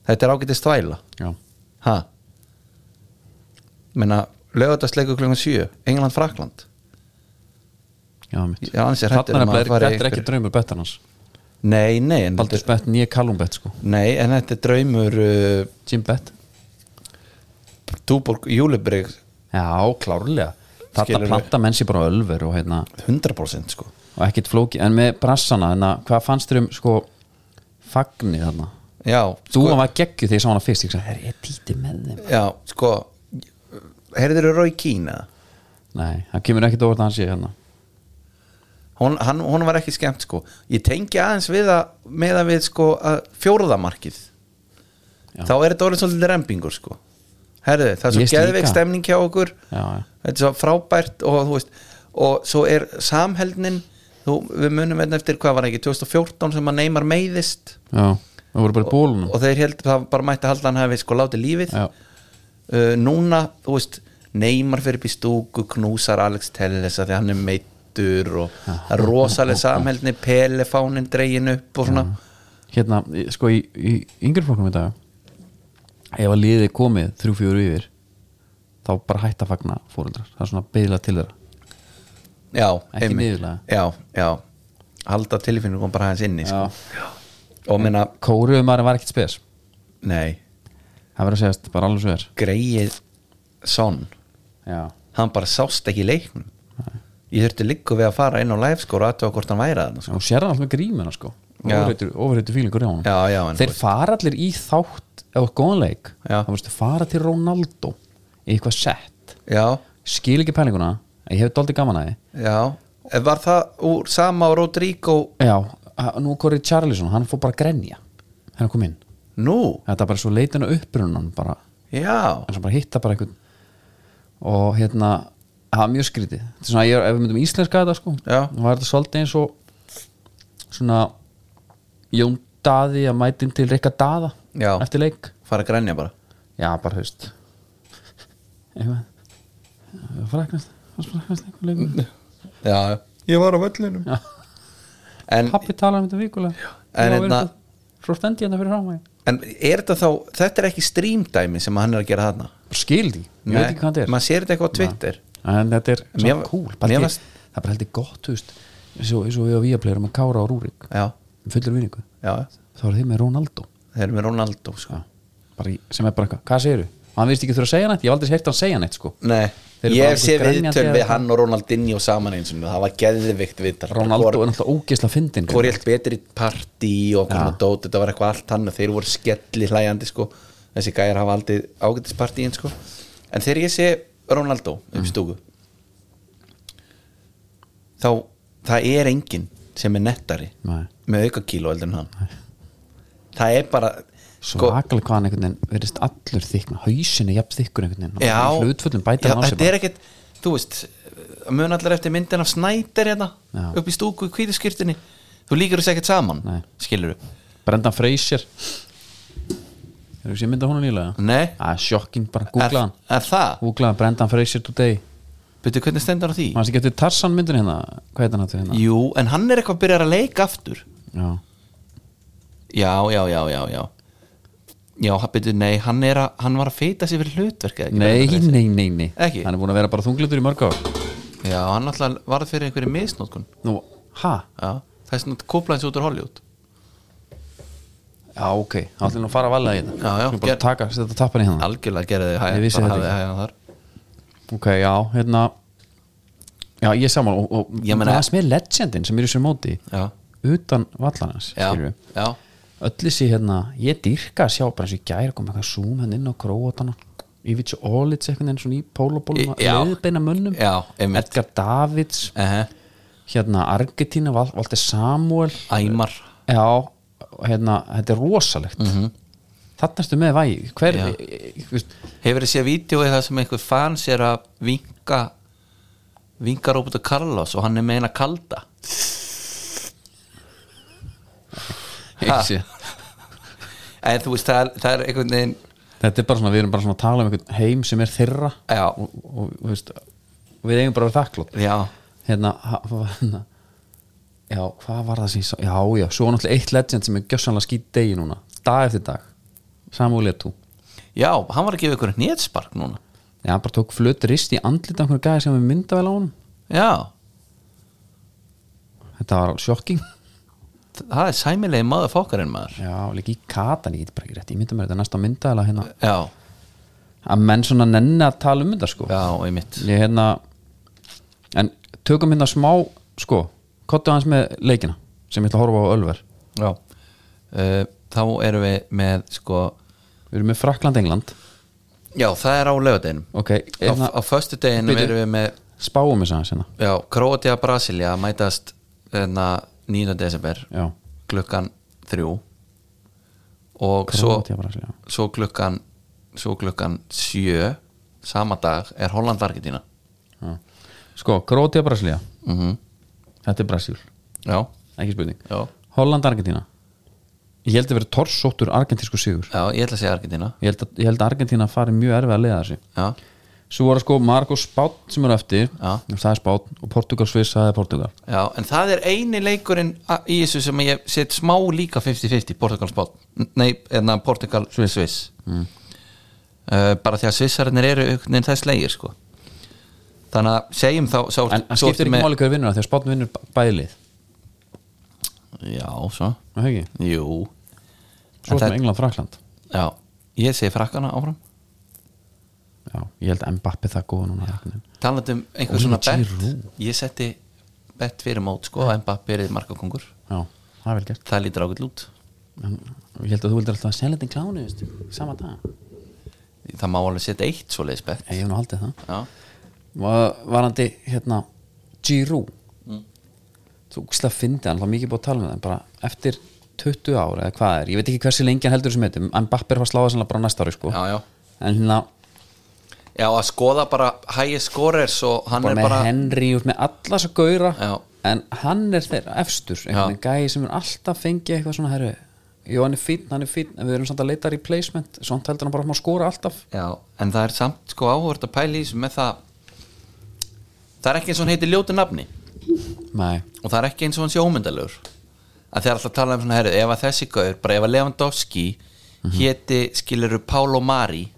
[SPEAKER 2] þetta er ágætist þvæla
[SPEAKER 1] Já,
[SPEAKER 2] ha Ég meina lögutarsleiku klukkan 7 England Frakland
[SPEAKER 1] já mitt
[SPEAKER 2] Ég er ansi hræddur
[SPEAKER 1] Þarna
[SPEAKER 2] um að
[SPEAKER 1] er
[SPEAKER 2] fara í
[SPEAKER 1] bara, þetta er ekki
[SPEAKER 2] einhver-
[SPEAKER 1] draumur bettarnans
[SPEAKER 2] nei nei en,
[SPEAKER 1] Baldur
[SPEAKER 2] þetta,
[SPEAKER 1] Spett, nýja Callum Bett sko
[SPEAKER 2] nei en þetta er draumur uh,
[SPEAKER 1] Jim Bett
[SPEAKER 2] Túborg Júlibreg
[SPEAKER 1] Já, klárlega Þetta
[SPEAKER 2] Skilurðu.
[SPEAKER 1] planta menn sér bara á ölver og hérna
[SPEAKER 2] 100% sko
[SPEAKER 1] og ekkit flóki, en með brassana hérna, hvað fannst þér um sko fagnið þarna
[SPEAKER 2] já,
[SPEAKER 1] þú sko, var geggju þegar ég sá hana fyrst ég sagði, herri, ég títi með þeim
[SPEAKER 2] já, sko heyrður Rói Kína
[SPEAKER 1] nei, það kemur ekkit óvart að hann sé hérna
[SPEAKER 2] hún, hann, hún var ekki skemmt sko ég tengi aðeins við að með að við sko að fjóruðamarkið
[SPEAKER 1] Já.
[SPEAKER 2] þá er þetta orðin svolítið rempingur sko herðu, það er
[SPEAKER 1] Mér
[SPEAKER 2] svo
[SPEAKER 1] finnst
[SPEAKER 2] geðveik
[SPEAKER 1] líka.
[SPEAKER 2] stemning hjá okkur
[SPEAKER 1] Já, já.
[SPEAKER 2] þetta er svo frábært og þú veist og svo er samheldnin þú, við munum einn eftir hvað var það ekki 2014 sem að Neymar meiðist
[SPEAKER 1] já, það voru bara í bólunum
[SPEAKER 2] og þeir heldur það bara mætti að halda að hann hefði sko látið lífið
[SPEAKER 1] já,
[SPEAKER 2] uh, núna, þú veist Neymar fyrir upp í stúku, knúsar Alex Telles að því að hann er meittur og það er rosalega samheldni pelefánin dregin upp og svona
[SPEAKER 1] hérna, í- sko í, í yngri flokkum í dag ef að liðið er komið þrjú fjóru yfir þá bara hætt að fagna fóreldrar það er svona beðla til þeirra
[SPEAKER 2] já,
[SPEAKER 1] Ekki
[SPEAKER 2] einmitt.
[SPEAKER 1] niðurlega.
[SPEAKER 2] já, já, halda tilfinningum bara hans inni sko. og minna,
[SPEAKER 1] kóruðumari var ekkit spes
[SPEAKER 2] nei
[SPEAKER 1] það verður að segjast bara alveg svo er
[SPEAKER 2] greið son
[SPEAKER 1] já,
[SPEAKER 2] hann bara sást ekki í leiknum ég þurfti líku við að fara inn á live sko og aðtöða hvort hann væri að sko.
[SPEAKER 1] og sér það alltaf með grímuna sko
[SPEAKER 2] Já.
[SPEAKER 1] ofurhættu fílingur hjá honum
[SPEAKER 2] já, já, en
[SPEAKER 1] þeir fara allir í þátt eða góðanleik,
[SPEAKER 2] Já.
[SPEAKER 1] þá veistu fara til Ronaldo í eitthvað sett
[SPEAKER 2] já,
[SPEAKER 1] skil ekki pælinguna, en ég hef dóldi gaman að þið
[SPEAKER 2] já Eh, var það úr sama og Rodrigo
[SPEAKER 1] já, að- nú Corey Charlison, hann fór bara að grenja hann kom inn,
[SPEAKER 2] nú,
[SPEAKER 1] þetta er bara svo leitin og upprunan bara,
[SPEAKER 2] já
[SPEAKER 1] eins og bara hitta bara einhvern og hérna það er mjög skrítið, þetta er svona ég, ef við myndum íslenska þetta sko,
[SPEAKER 2] Já.
[SPEAKER 1] þá var þetta svolítið eins og svona Jón Daði að mætin til Rikka Daða
[SPEAKER 2] Já.
[SPEAKER 1] eftir leik
[SPEAKER 2] fara að grænja bara
[SPEAKER 1] Já, bara haust Eitthvað Fræknast Fræknast einhver
[SPEAKER 2] [LAUGHS]
[SPEAKER 1] leikur
[SPEAKER 2] já, ég var á völlunum
[SPEAKER 1] Já.
[SPEAKER 2] en,
[SPEAKER 1] Pappi talar um þetta vikulega
[SPEAKER 2] En
[SPEAKER 1] Ég á verið
[SPEAKER 2] hérna-
[SPEAKER 1] það. Svo stendi hérna fyrir ráma
[SPEAKER 2] en er þetta þá þetta er ekki streamdæmi sem hann er að gera þarna
[SPEAKER 1] Skildi, ég veit ekki hvað þetta
[SPEAKER 2] maður sér þetta eitthvað á Twitter
[SPEAKER 1] er En þetta er
[SPEAKER 2] Mér
[SPEAKER 1] svo
[SPEAKER 2] var-
[SPEAKER 1] cool
[SPEAKER 2] mér
[SPEAKER 1] bara
[SPEAKER 2] varst-
[SPEAKER 1] til- Það er bara heldur gott, þú veist eins og eins og við á Víaplegur með Kára og Rúrik
[SPEAKER 2] já,
[SPEAKER 1] Fullir vinningu
[SPEAKER 2] já,
[SPEAKER 1] Þá er þið með Ronaldo
[SPEAKER 2] þeir eru með Ronaldo sko.
[SPEAKER 1] Já. bara, í- Sem er bara eitthvað, hvað segirðu? Og Hann veist ekki þurfa að segja neitt, ég hef aldrei heyrt hann segja neitt sko
[SPEAKER 2] Nei,
[SPEAKER 1] Þeir eru
[SPEAKER 2] ég
[SPEAKER 1] bara
[SPEAKER 2] hef séð
[SPEAKER 1] alveg grenjandi
[SPEAKER 2] viðtöl
[SPEAKER 1] eða
[SPEAKER 2] við
[SPEAKER 1] eitthvað.
[SPEAKER 2] hann og Ronaldinho saman eins og það var geðvikt viðtal
[SPEAKER 1] Ronaldo
[SPEAKER 2] Hvor-
[SPEAKER 1] er náttúrulega ógeðsla fyndin
[SPEAKER 2] hvor ég held betri partí og
[SPEAKER 1] Já.
[SPEAKER 2] hvernig ja. dót, þetta var eitthvað allt hann þeir voru skelli hlæjandi sko þessi gæjar hafa aldrei ágætis partíin sko en þegar ég sé Ronaldo upp mm. stúku þá það er enginn sem er nettari
[SPEAKER 1] Nei.
[SPEAKER 2] með auka kíló heldur en hann það er bara sko,
[SPEAKER 1] svakalega hvað hann einhvern veginn verðist allur þykna, hausin er jafn þykkur einhvern veginn
[SPEAKER 2] já,
[SPEAKER 1] Hann er í hlutföllum bæta
[SPEAKER 2] já
[SPEAKER 1] hann á sig
[SPEAKER 2] þetta
[SPEAKER 1] bara.
[SPEAKER 2] er ekkert þú veist, mun allar eftir myndin af snæter hérna,
[SPEAKER 1] Já.
[SPEAKER 2] upp í stúku í kvítuskirtinni, þú líkir þessu ekkert saman
[SPEAKER 1] Nei.
[SPEAKER 2] skilur þú,
[SPEAKER 1] Brendan Fraser Hefur þú sé mynda hún nýlega?
[SPEAKER 2] nei
[SPEAKER 1] Það er sjokkin, bara googla hann
[SPEAKER 2] er, er það,
[SPEAKER 1] Googla hann Brendan Fraser today
[SPEAKER 2] betur hvernig stendur á því
[SPEAKER 1] Mannst ekki eftir Tarsan myndin hérna? Hvað heit hann aftur hérna?
[SPEAKER 2] jú, en hann er eitthvað að byrja að leika aftur
[SPEAKER 1] Já,
[SPEAKER 2] já, já, já, já, já já, betur, nei, hann er að hann var að feita sér fyrir hlutverk eða ekki,
[SPEAKER 1] nei,
[SPEAKER 2] verður það að
[SPEAKER 1] nei, nei, nei
[SPEAKER 2] Ekki?
[SPEAKER 1] Hann er búin að vera bara þunglindur í mörg ár
[SPEAKER 2] segja? já, hann alltaf varð fyrir einhverju misnótkun
[SPEAKER 1] Nú, ha?
[SPEAKER 2] já, það er svona kóplaðins út úr Hollywood
[SPEAKER 1] Já, ok, hann ætlir nú að fara að valda í þetta
[SPEAKER 2] Já, já,
[SPEAKER 1] Skulum bara
[SPEAKER 2] gerð.
[SPEAKER 1] taka, setja tappan í hérna
[SPEAKER 2] algjörlega gerði þið
[SPEAKER 1] Ég
[SPEAKER 2] hæg,
[SPEAKER 1] vissi
[SPEAKER 2] bara
[SPEAKER 1] þetta
[SPEAKER 2] hafði
[SPEAKER 1] ekki.
[SPEAKER 2] hægan þar
[SPEAKER 1] Ok, já, hérna Já, ég er saman og, og
[SPEAKER 2] Ég meina-
[SPEAKER 1] það sem er legendin sem er í þessu móti
[SPEAKER 2] já,
[SPEAKER 1] utan vallanans
[SPEAKER 2] já, já,
[SPEAKER 1] öll þessi hérna, ég dýrka að sjá bara eins og í gæri kom eitthvað zoom hann inn á króatana Ivits og Olits eitthvað enn svona í pólabólum
[SPEAKER 2] Í- já.
[SPEAKER 1] leðbeina mönnum,
[SPEAKER 2] já, einmitt
[SPEAKER 1] Edgar Davids
[SPEAKER 2] uh
[SPEAKER 1] hérna Argentina, Val, Valdi Samuel
[SPEAKER 2] æmar,
[SPEAKER 1] já, hérna, þetta er rosalegt mm -hmm. þarna erstu með vægi hver,
[SPEAKER 2] Mhm. Já.
[SPEAKER 1] e, e, e, veist,
[SPEAKER 2] hefur þið séð vídeo það sem einhver fans er að vinka vinka Roberto Carlos og hann er með eina kalda Ha.
[SPEAKER 1] sé.
[SPEAKER 2] en þú veist, það er, það er einhvern veginn
[SPEAKER 1] þetta er bara svona, við erum bara svona að tala um einhvern heim sem er þeirra
[SPEAKER 2] Já.
[SPEAKER 1] og, og, og veist, við eigum bara að vera þakklótt
[SPEAKER 2] já,
[SPEAKER 1] hérna, ha- hérna já, hvað var það sem ég sá já, já, svo var náttúrulega eitt legend sem er gjössanlega skýt degi núna, dag eftir dag Samuel Eto'o,
[SPEAKER 2] já, hann var að gefa ykkur hnetspark núna
[SPEAKER 1] já, hann bara tók flöt rist í andlita einhverju gæði sem við mynda vel á honum
[SPEAKER 2] já,
[SPEAKER 1] þetta var sjokking
[SPEAKER 2] það er sæmilegi maður fókarinn maður
[SPEAKER 1] já, líka í katan, ég get bara ekki rétt ég mynda mér þetta næsta mynda vel hérna
[SPEAKER 2] já,
[SPEAKER 1] að menn svona nenni að tala um þetta sko
[SPEAKER 2] já, einmitt
[SPEAKER 1] ég hérna en tökum hérna smá, sko kottu hans með leikina sem ég ætla að horfa á Ölver
[SPEAKER 2] já.
[SPEAKER 6] uh,
[SPEAKER 2] Eh, þá erum við með sko
[SPEAKER 1] Við erum með Frakland, England
[SPEAKER 2] já það er á lögadeinum
[SPEAKER 1] Ok,
[SPEAKER 2] á,
[SPEAKER 1] einna,
[SPEAKER 2] á föstu deginum
[SPEAKER 1] Bíddu.
[SPEAKER 2] erum við með
[SPEAKER 1] spáum við sagði hérna
[SPEAKER 2] já, Króatia og Brasilia mætast hérna 9. desember
[SPEAKER 1] Já,
[SPEAKER 2] klukkan 3 og svo,
[SPEAKER 1] Króatía, Brasilía.
[SPEAKER 2] svo klukkan svo klukkan 7 sama dag er Holland Argentina
[SPEAKER 1] Já. Sko, Krótia, Brasilia
[SPEAKER 2] mm
[SPEAKER 1] Mhm. Þetta er Brasil,
[SPEAKER 2] já,
[SPEAKER 1] ekki spurning
[SPEAKER 2] já,
[SPEAKER 1] Holland, Argentína Ég held að vera torsóttur argentísku sigur
[SPEAKER 2] já, ég ætla að segja Argentina
[SPEAKER 1] Ég held að, ég held að Argentína fari mjög erfið að leiða þessi
[SPEAKER 2] já,
[SPEAKER 1] Svo voru sko Marko Spátt sem eru eftir
[SPEAKER 2] Já.
[SPEAKER 1] Það er Spátt og Portugal Sviss, það er Portugal
[SPEAKER 2] já, en það er eini leikurinn a- í þessu sem ég set smá líka 50-50 Portugal spátt, nei, hérna, enna Portugal Sviss, Sviss.
[SPEAKER 1] Mm.
[SPEAKER 2] Uh, bara því að Svissarinnir eru einhvern veginn þess leigir sko þannig að segjum þá sá,
[SPEAKER 1] En það skiptir ekki máli hver vinnur það þegar Spátt vinnur b- bæði lið
[SPEAKER 2] já, svo,
[SPEAKER 1] Er það ekki?
[SPEAKER 2] jú
[SPEAKER 1] Svo
[SPEAKER 2] En það-
[SPEAKER 1] sem England, Frakland
[SPEAKER 2] já, ég segi frakkana áfram
[SPEAKER 1] Já, ég held að Mbappi það góða núna einhvern veginn.
[SPEAKER 2] talandi um einhver
[SPEAKER 1] Oliver
[SPEAKER 2] svona bett
[SPEAKER 1] Giroud.
[SPEAKER 2] ég setti bett fyrir mót sko að Mbappi er markakongur
[SPEAKER 1] Já, það er vel gert
[SPEAKER 2] það lítur ágætt lút
[SPEAKER 1] en, Ég held að þú vildir alltaf að selja þetta kláni veist, Sama dag
[SPEAKER 2] það má alveg setja eitt svoleiðis bett
[SPEAKER 1] Ég hef nú haldið það
[SPEAKER 2] já,
[SPEAKER 1] Var- Varandi hérna Giroud
[SPEAKER 2] Mm.
[SPEAKER 1] Þú úkslega fyndi hann, það var mikið búið að tala með það en bara eftir 20 ára eða hvað er ég veit ekki hversu lengi hann heldur þessum heitum en Mbappi er að sláða sannlega bara á næsta ári sko.
[SPEAKER 2] já, já
[SPEAKER 1] en hérna
[SPEAKER 2] já, að skoða bara hægi skorers og hann
[SPEAKER 1] bara
[SPEAKER 2] er
[SPEAKER 1] með
[SPEAKER 2] bara
[SPEAKER 1] Henry og með alla svo gauðra
[SPEAKER 2] Já.
[SPEAKER 1] en hann er þeirra efstur
[SPEAKER 2] Já.
[SPEAKER 1] einhvern veginn gæi sem er alltaf fengið eitthvað svona herru, jú hann er fínn, hann er fínn en við erum samt að leita í placement, samt heldur hann bara áfram að skora alltaf
[SPEAKER 2] já, en það er samt sko áhört að pæla í þessu með það það er ekki eins og hann heitir ljótu nafni
[SPEAKER 1] nei,
[SPEAKER 2] og það er ekki eins og hann sé ómyndalögur að þeir alltaf tala um svona herrið ef að þessi gaur, bara ef að Lewandowski
[SPEAKER 1] Mhm.
[SPEAKER 2] héti skiluru Paulo Mari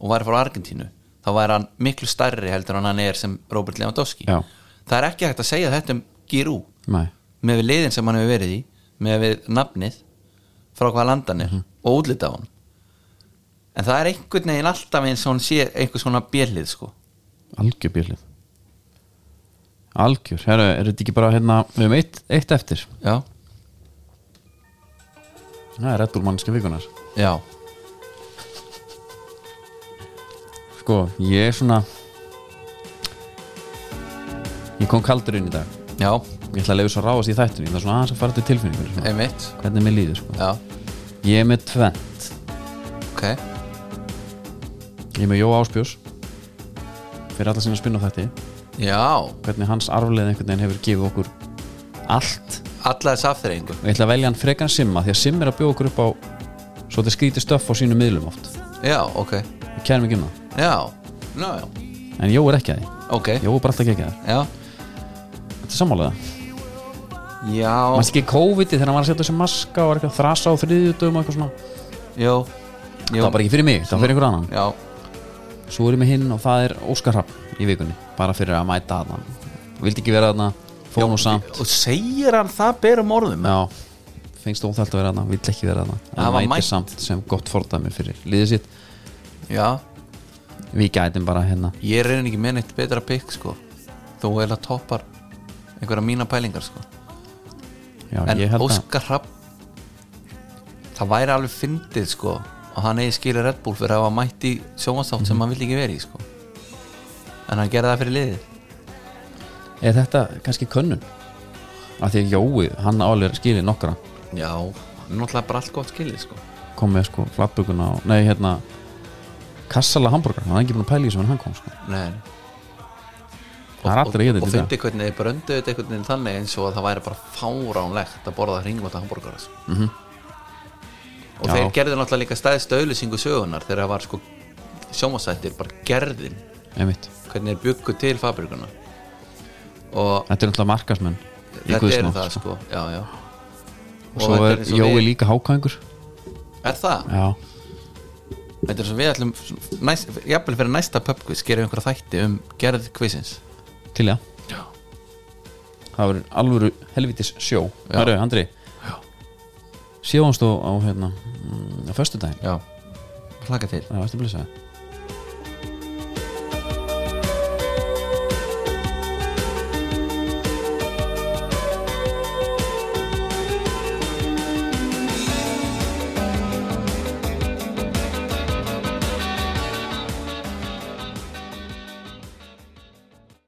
[SPEAKER 2] og væri frá Argentínu þá væri hann miklu stærri heldur en hann er sem Robert Lewandowski
[SPEAKER 1] Já.
[SPEAKER 2] það er ekki hægt að segja þetta um Girú
[SPEAKER 1] nei,
[SPEAKER 2] með við liðin sem hann hefur verið í með við nafnið frá hvaða landan er og útlita á hann en það er einhvern veginn alltaf eins og hann sé einhvers svona bjellið sko
[SPEAKER 1] algjör bílið algjör, herru, er þetta ekki bara hérna, við erum eitt, eitt eftir
[SPEAKER 2] já,
[SPEAKER 1] það er reddul mannska vikunar
[SPEAKER 2] já,
[SPEAKER 1] sko, ég er svona ég kom kaldur inn í dag
[SPEAKER 2] já,
[SPEAKER 1] ég ætla að lefa svo að ráðast í þættinu, ég ætla svona aðeins að fara til tilfinningur svona.
[SPEAKER 2] einmitt
[SPEAKER 1] hvernig mér líður, sko
[SPEAKER 2] já,
[SPEAKER 1] ég er með tvent
[SPEAKER 2] ok,
[SPEAKER 1] Ég er með Jó Áspjós fyrir alla sína spinn á þetta
[SPEAKER 2] já
[SPEAKER 1] hvernig hans arfleð einhvern veginn hefur gefið okkur allt
[SPEAKER 2] alla þess afþreyingu
[SPEAKER 1] og ég ætla að velja hann frekar en Simma því að Simma er að bjóða okkur upp á svo þetta skríti stöff á sínum miðlum oft
[SPEAKER 2] já, ok,
[SPEAKER 1] við kærum ekki um það
[SPEAKER 2] já, já, já
[SPEAKER 1] en Jó er ekki að því
[SPEAKER 2] ok,
[SPEAKER 1] Jó er bara alltaf ekki að það
[SPEAKER 2] já
[SPEAKER 1] Þetta er sammálega
[SPEAKER 2] já,
[SPEAKER 1] Mannst ekki COVID-ið þegar hann var að setja þessi maska og var eitthvað að þrasa á þriðjutum og eitthvað svona
[SPEAKER 2] já
[SPEAKER 1] Það var bara ekki fyrir mig, það var fyrir einhver annan
[SPEAKER 2] já,
[SPEAKER 1] Svo er ég með hinn og það er Óskar Hrapp í vikunni bara fyrir að mæta að hann Vildi ekki vera þarna, fór nú samt
[SPEAKER 2] og segir hann það berum orðum
[SPEAKER 1] Já, finnst óþælt að vera hana vill ekki vera hana,
[SPEAKER 2] Það
[SPEAKER 1] en
[SPEAKER 2] var
[SPEAKER 1] mæti
[SPEAKER 2] mætt.
[SPEAKER 1] samt sem gott fordæmi fyrir liðið sitt,
[SPEAKER 2] já,
[SPEAKER 1] við gætum bara hérna
[SPEAKER 2] ég er reynin ekki með neitt betra pikk sko þú eiginlega toppar einhverja mína pælingar sko
[SPEAKER 1] Já,
[SPEAKER 2] en
[SPEAKER 1] ég held
[SPEAKER 2] Óskar Rapp það væri alveg fyndið sko og hann eigi skilja Red Bull fyrir að hafa mætt í sjónvastátt sem hann vildi ekki verið í sko en hann gerði það fyrir liðið
[SPEAKER 1] að er þetta kannski könnun af því að Jói, hann álega skilið nokkra
[SPEAKER 2] já, hann er náttúrulega bara allt gott skilið sko
[SPEAKER 1] kom með sko flatbökuna og, nei hérna kassala hambúrgar, hann er ekki búin að pæla í þessu en hann kom sko,
[SPEAKER 2] Nei. nei.
[SPEAKER 1] Það er allir að geta
[SPEAKER 2] og, og
[SPEAKER 1] þetta í dag.
[SPEAKER 2] fyndi hvernig þið bröndu þetta einhvern veginn þannig eins og að það væri bara fáránlegt að borða hringmáta hambúrgar sko. mm -hmm. og
[SPEAKER 1] Já.
[SPEAKER 2] þeir gerðu náttúrulega líka stæðstu auðlýsingu sögunar þegar það var sko sjómasættir bara gerðin
[SPEAKER 1] einmitt
[SPEAKER 2] hvernig þeir byggu til fabrikuna og
[SPEAKER 1] þetta er náttúrulega markasmenn í
[SPEAKER 2] þetta
[SPEAKER 1] guðsmá,
[SPEAKER 2] eru það sko, já, já.
[SPEAKER 1] og svo
[SPEAKER 2] þetta
[SPEAKER 1] er
[SPEAKER 2] eins og
[SPEAKER 1] Jói
[SPEAKER 2] við-
[SPEAKER 1] líka hákvæðingur
[SPEAKER 2] er það?
[SPEAKER 1] já,
[SPEAKER 2] Þetta er svo við ætlum næst, jafnvel fyrir næsta pubquiz gerum við einhverja þætti um gerð quizins
[SPEAKER 1] til já það verður alvöru helvitis sjó
[SPEAKER 2] Já.
[SPEAKER 1] Hörru, Andri síðanst og á hérna, mm, á föstudaginn
[SPEAKER 2] já, hlaka til
[SPEAKER 1] Það varstu blessaði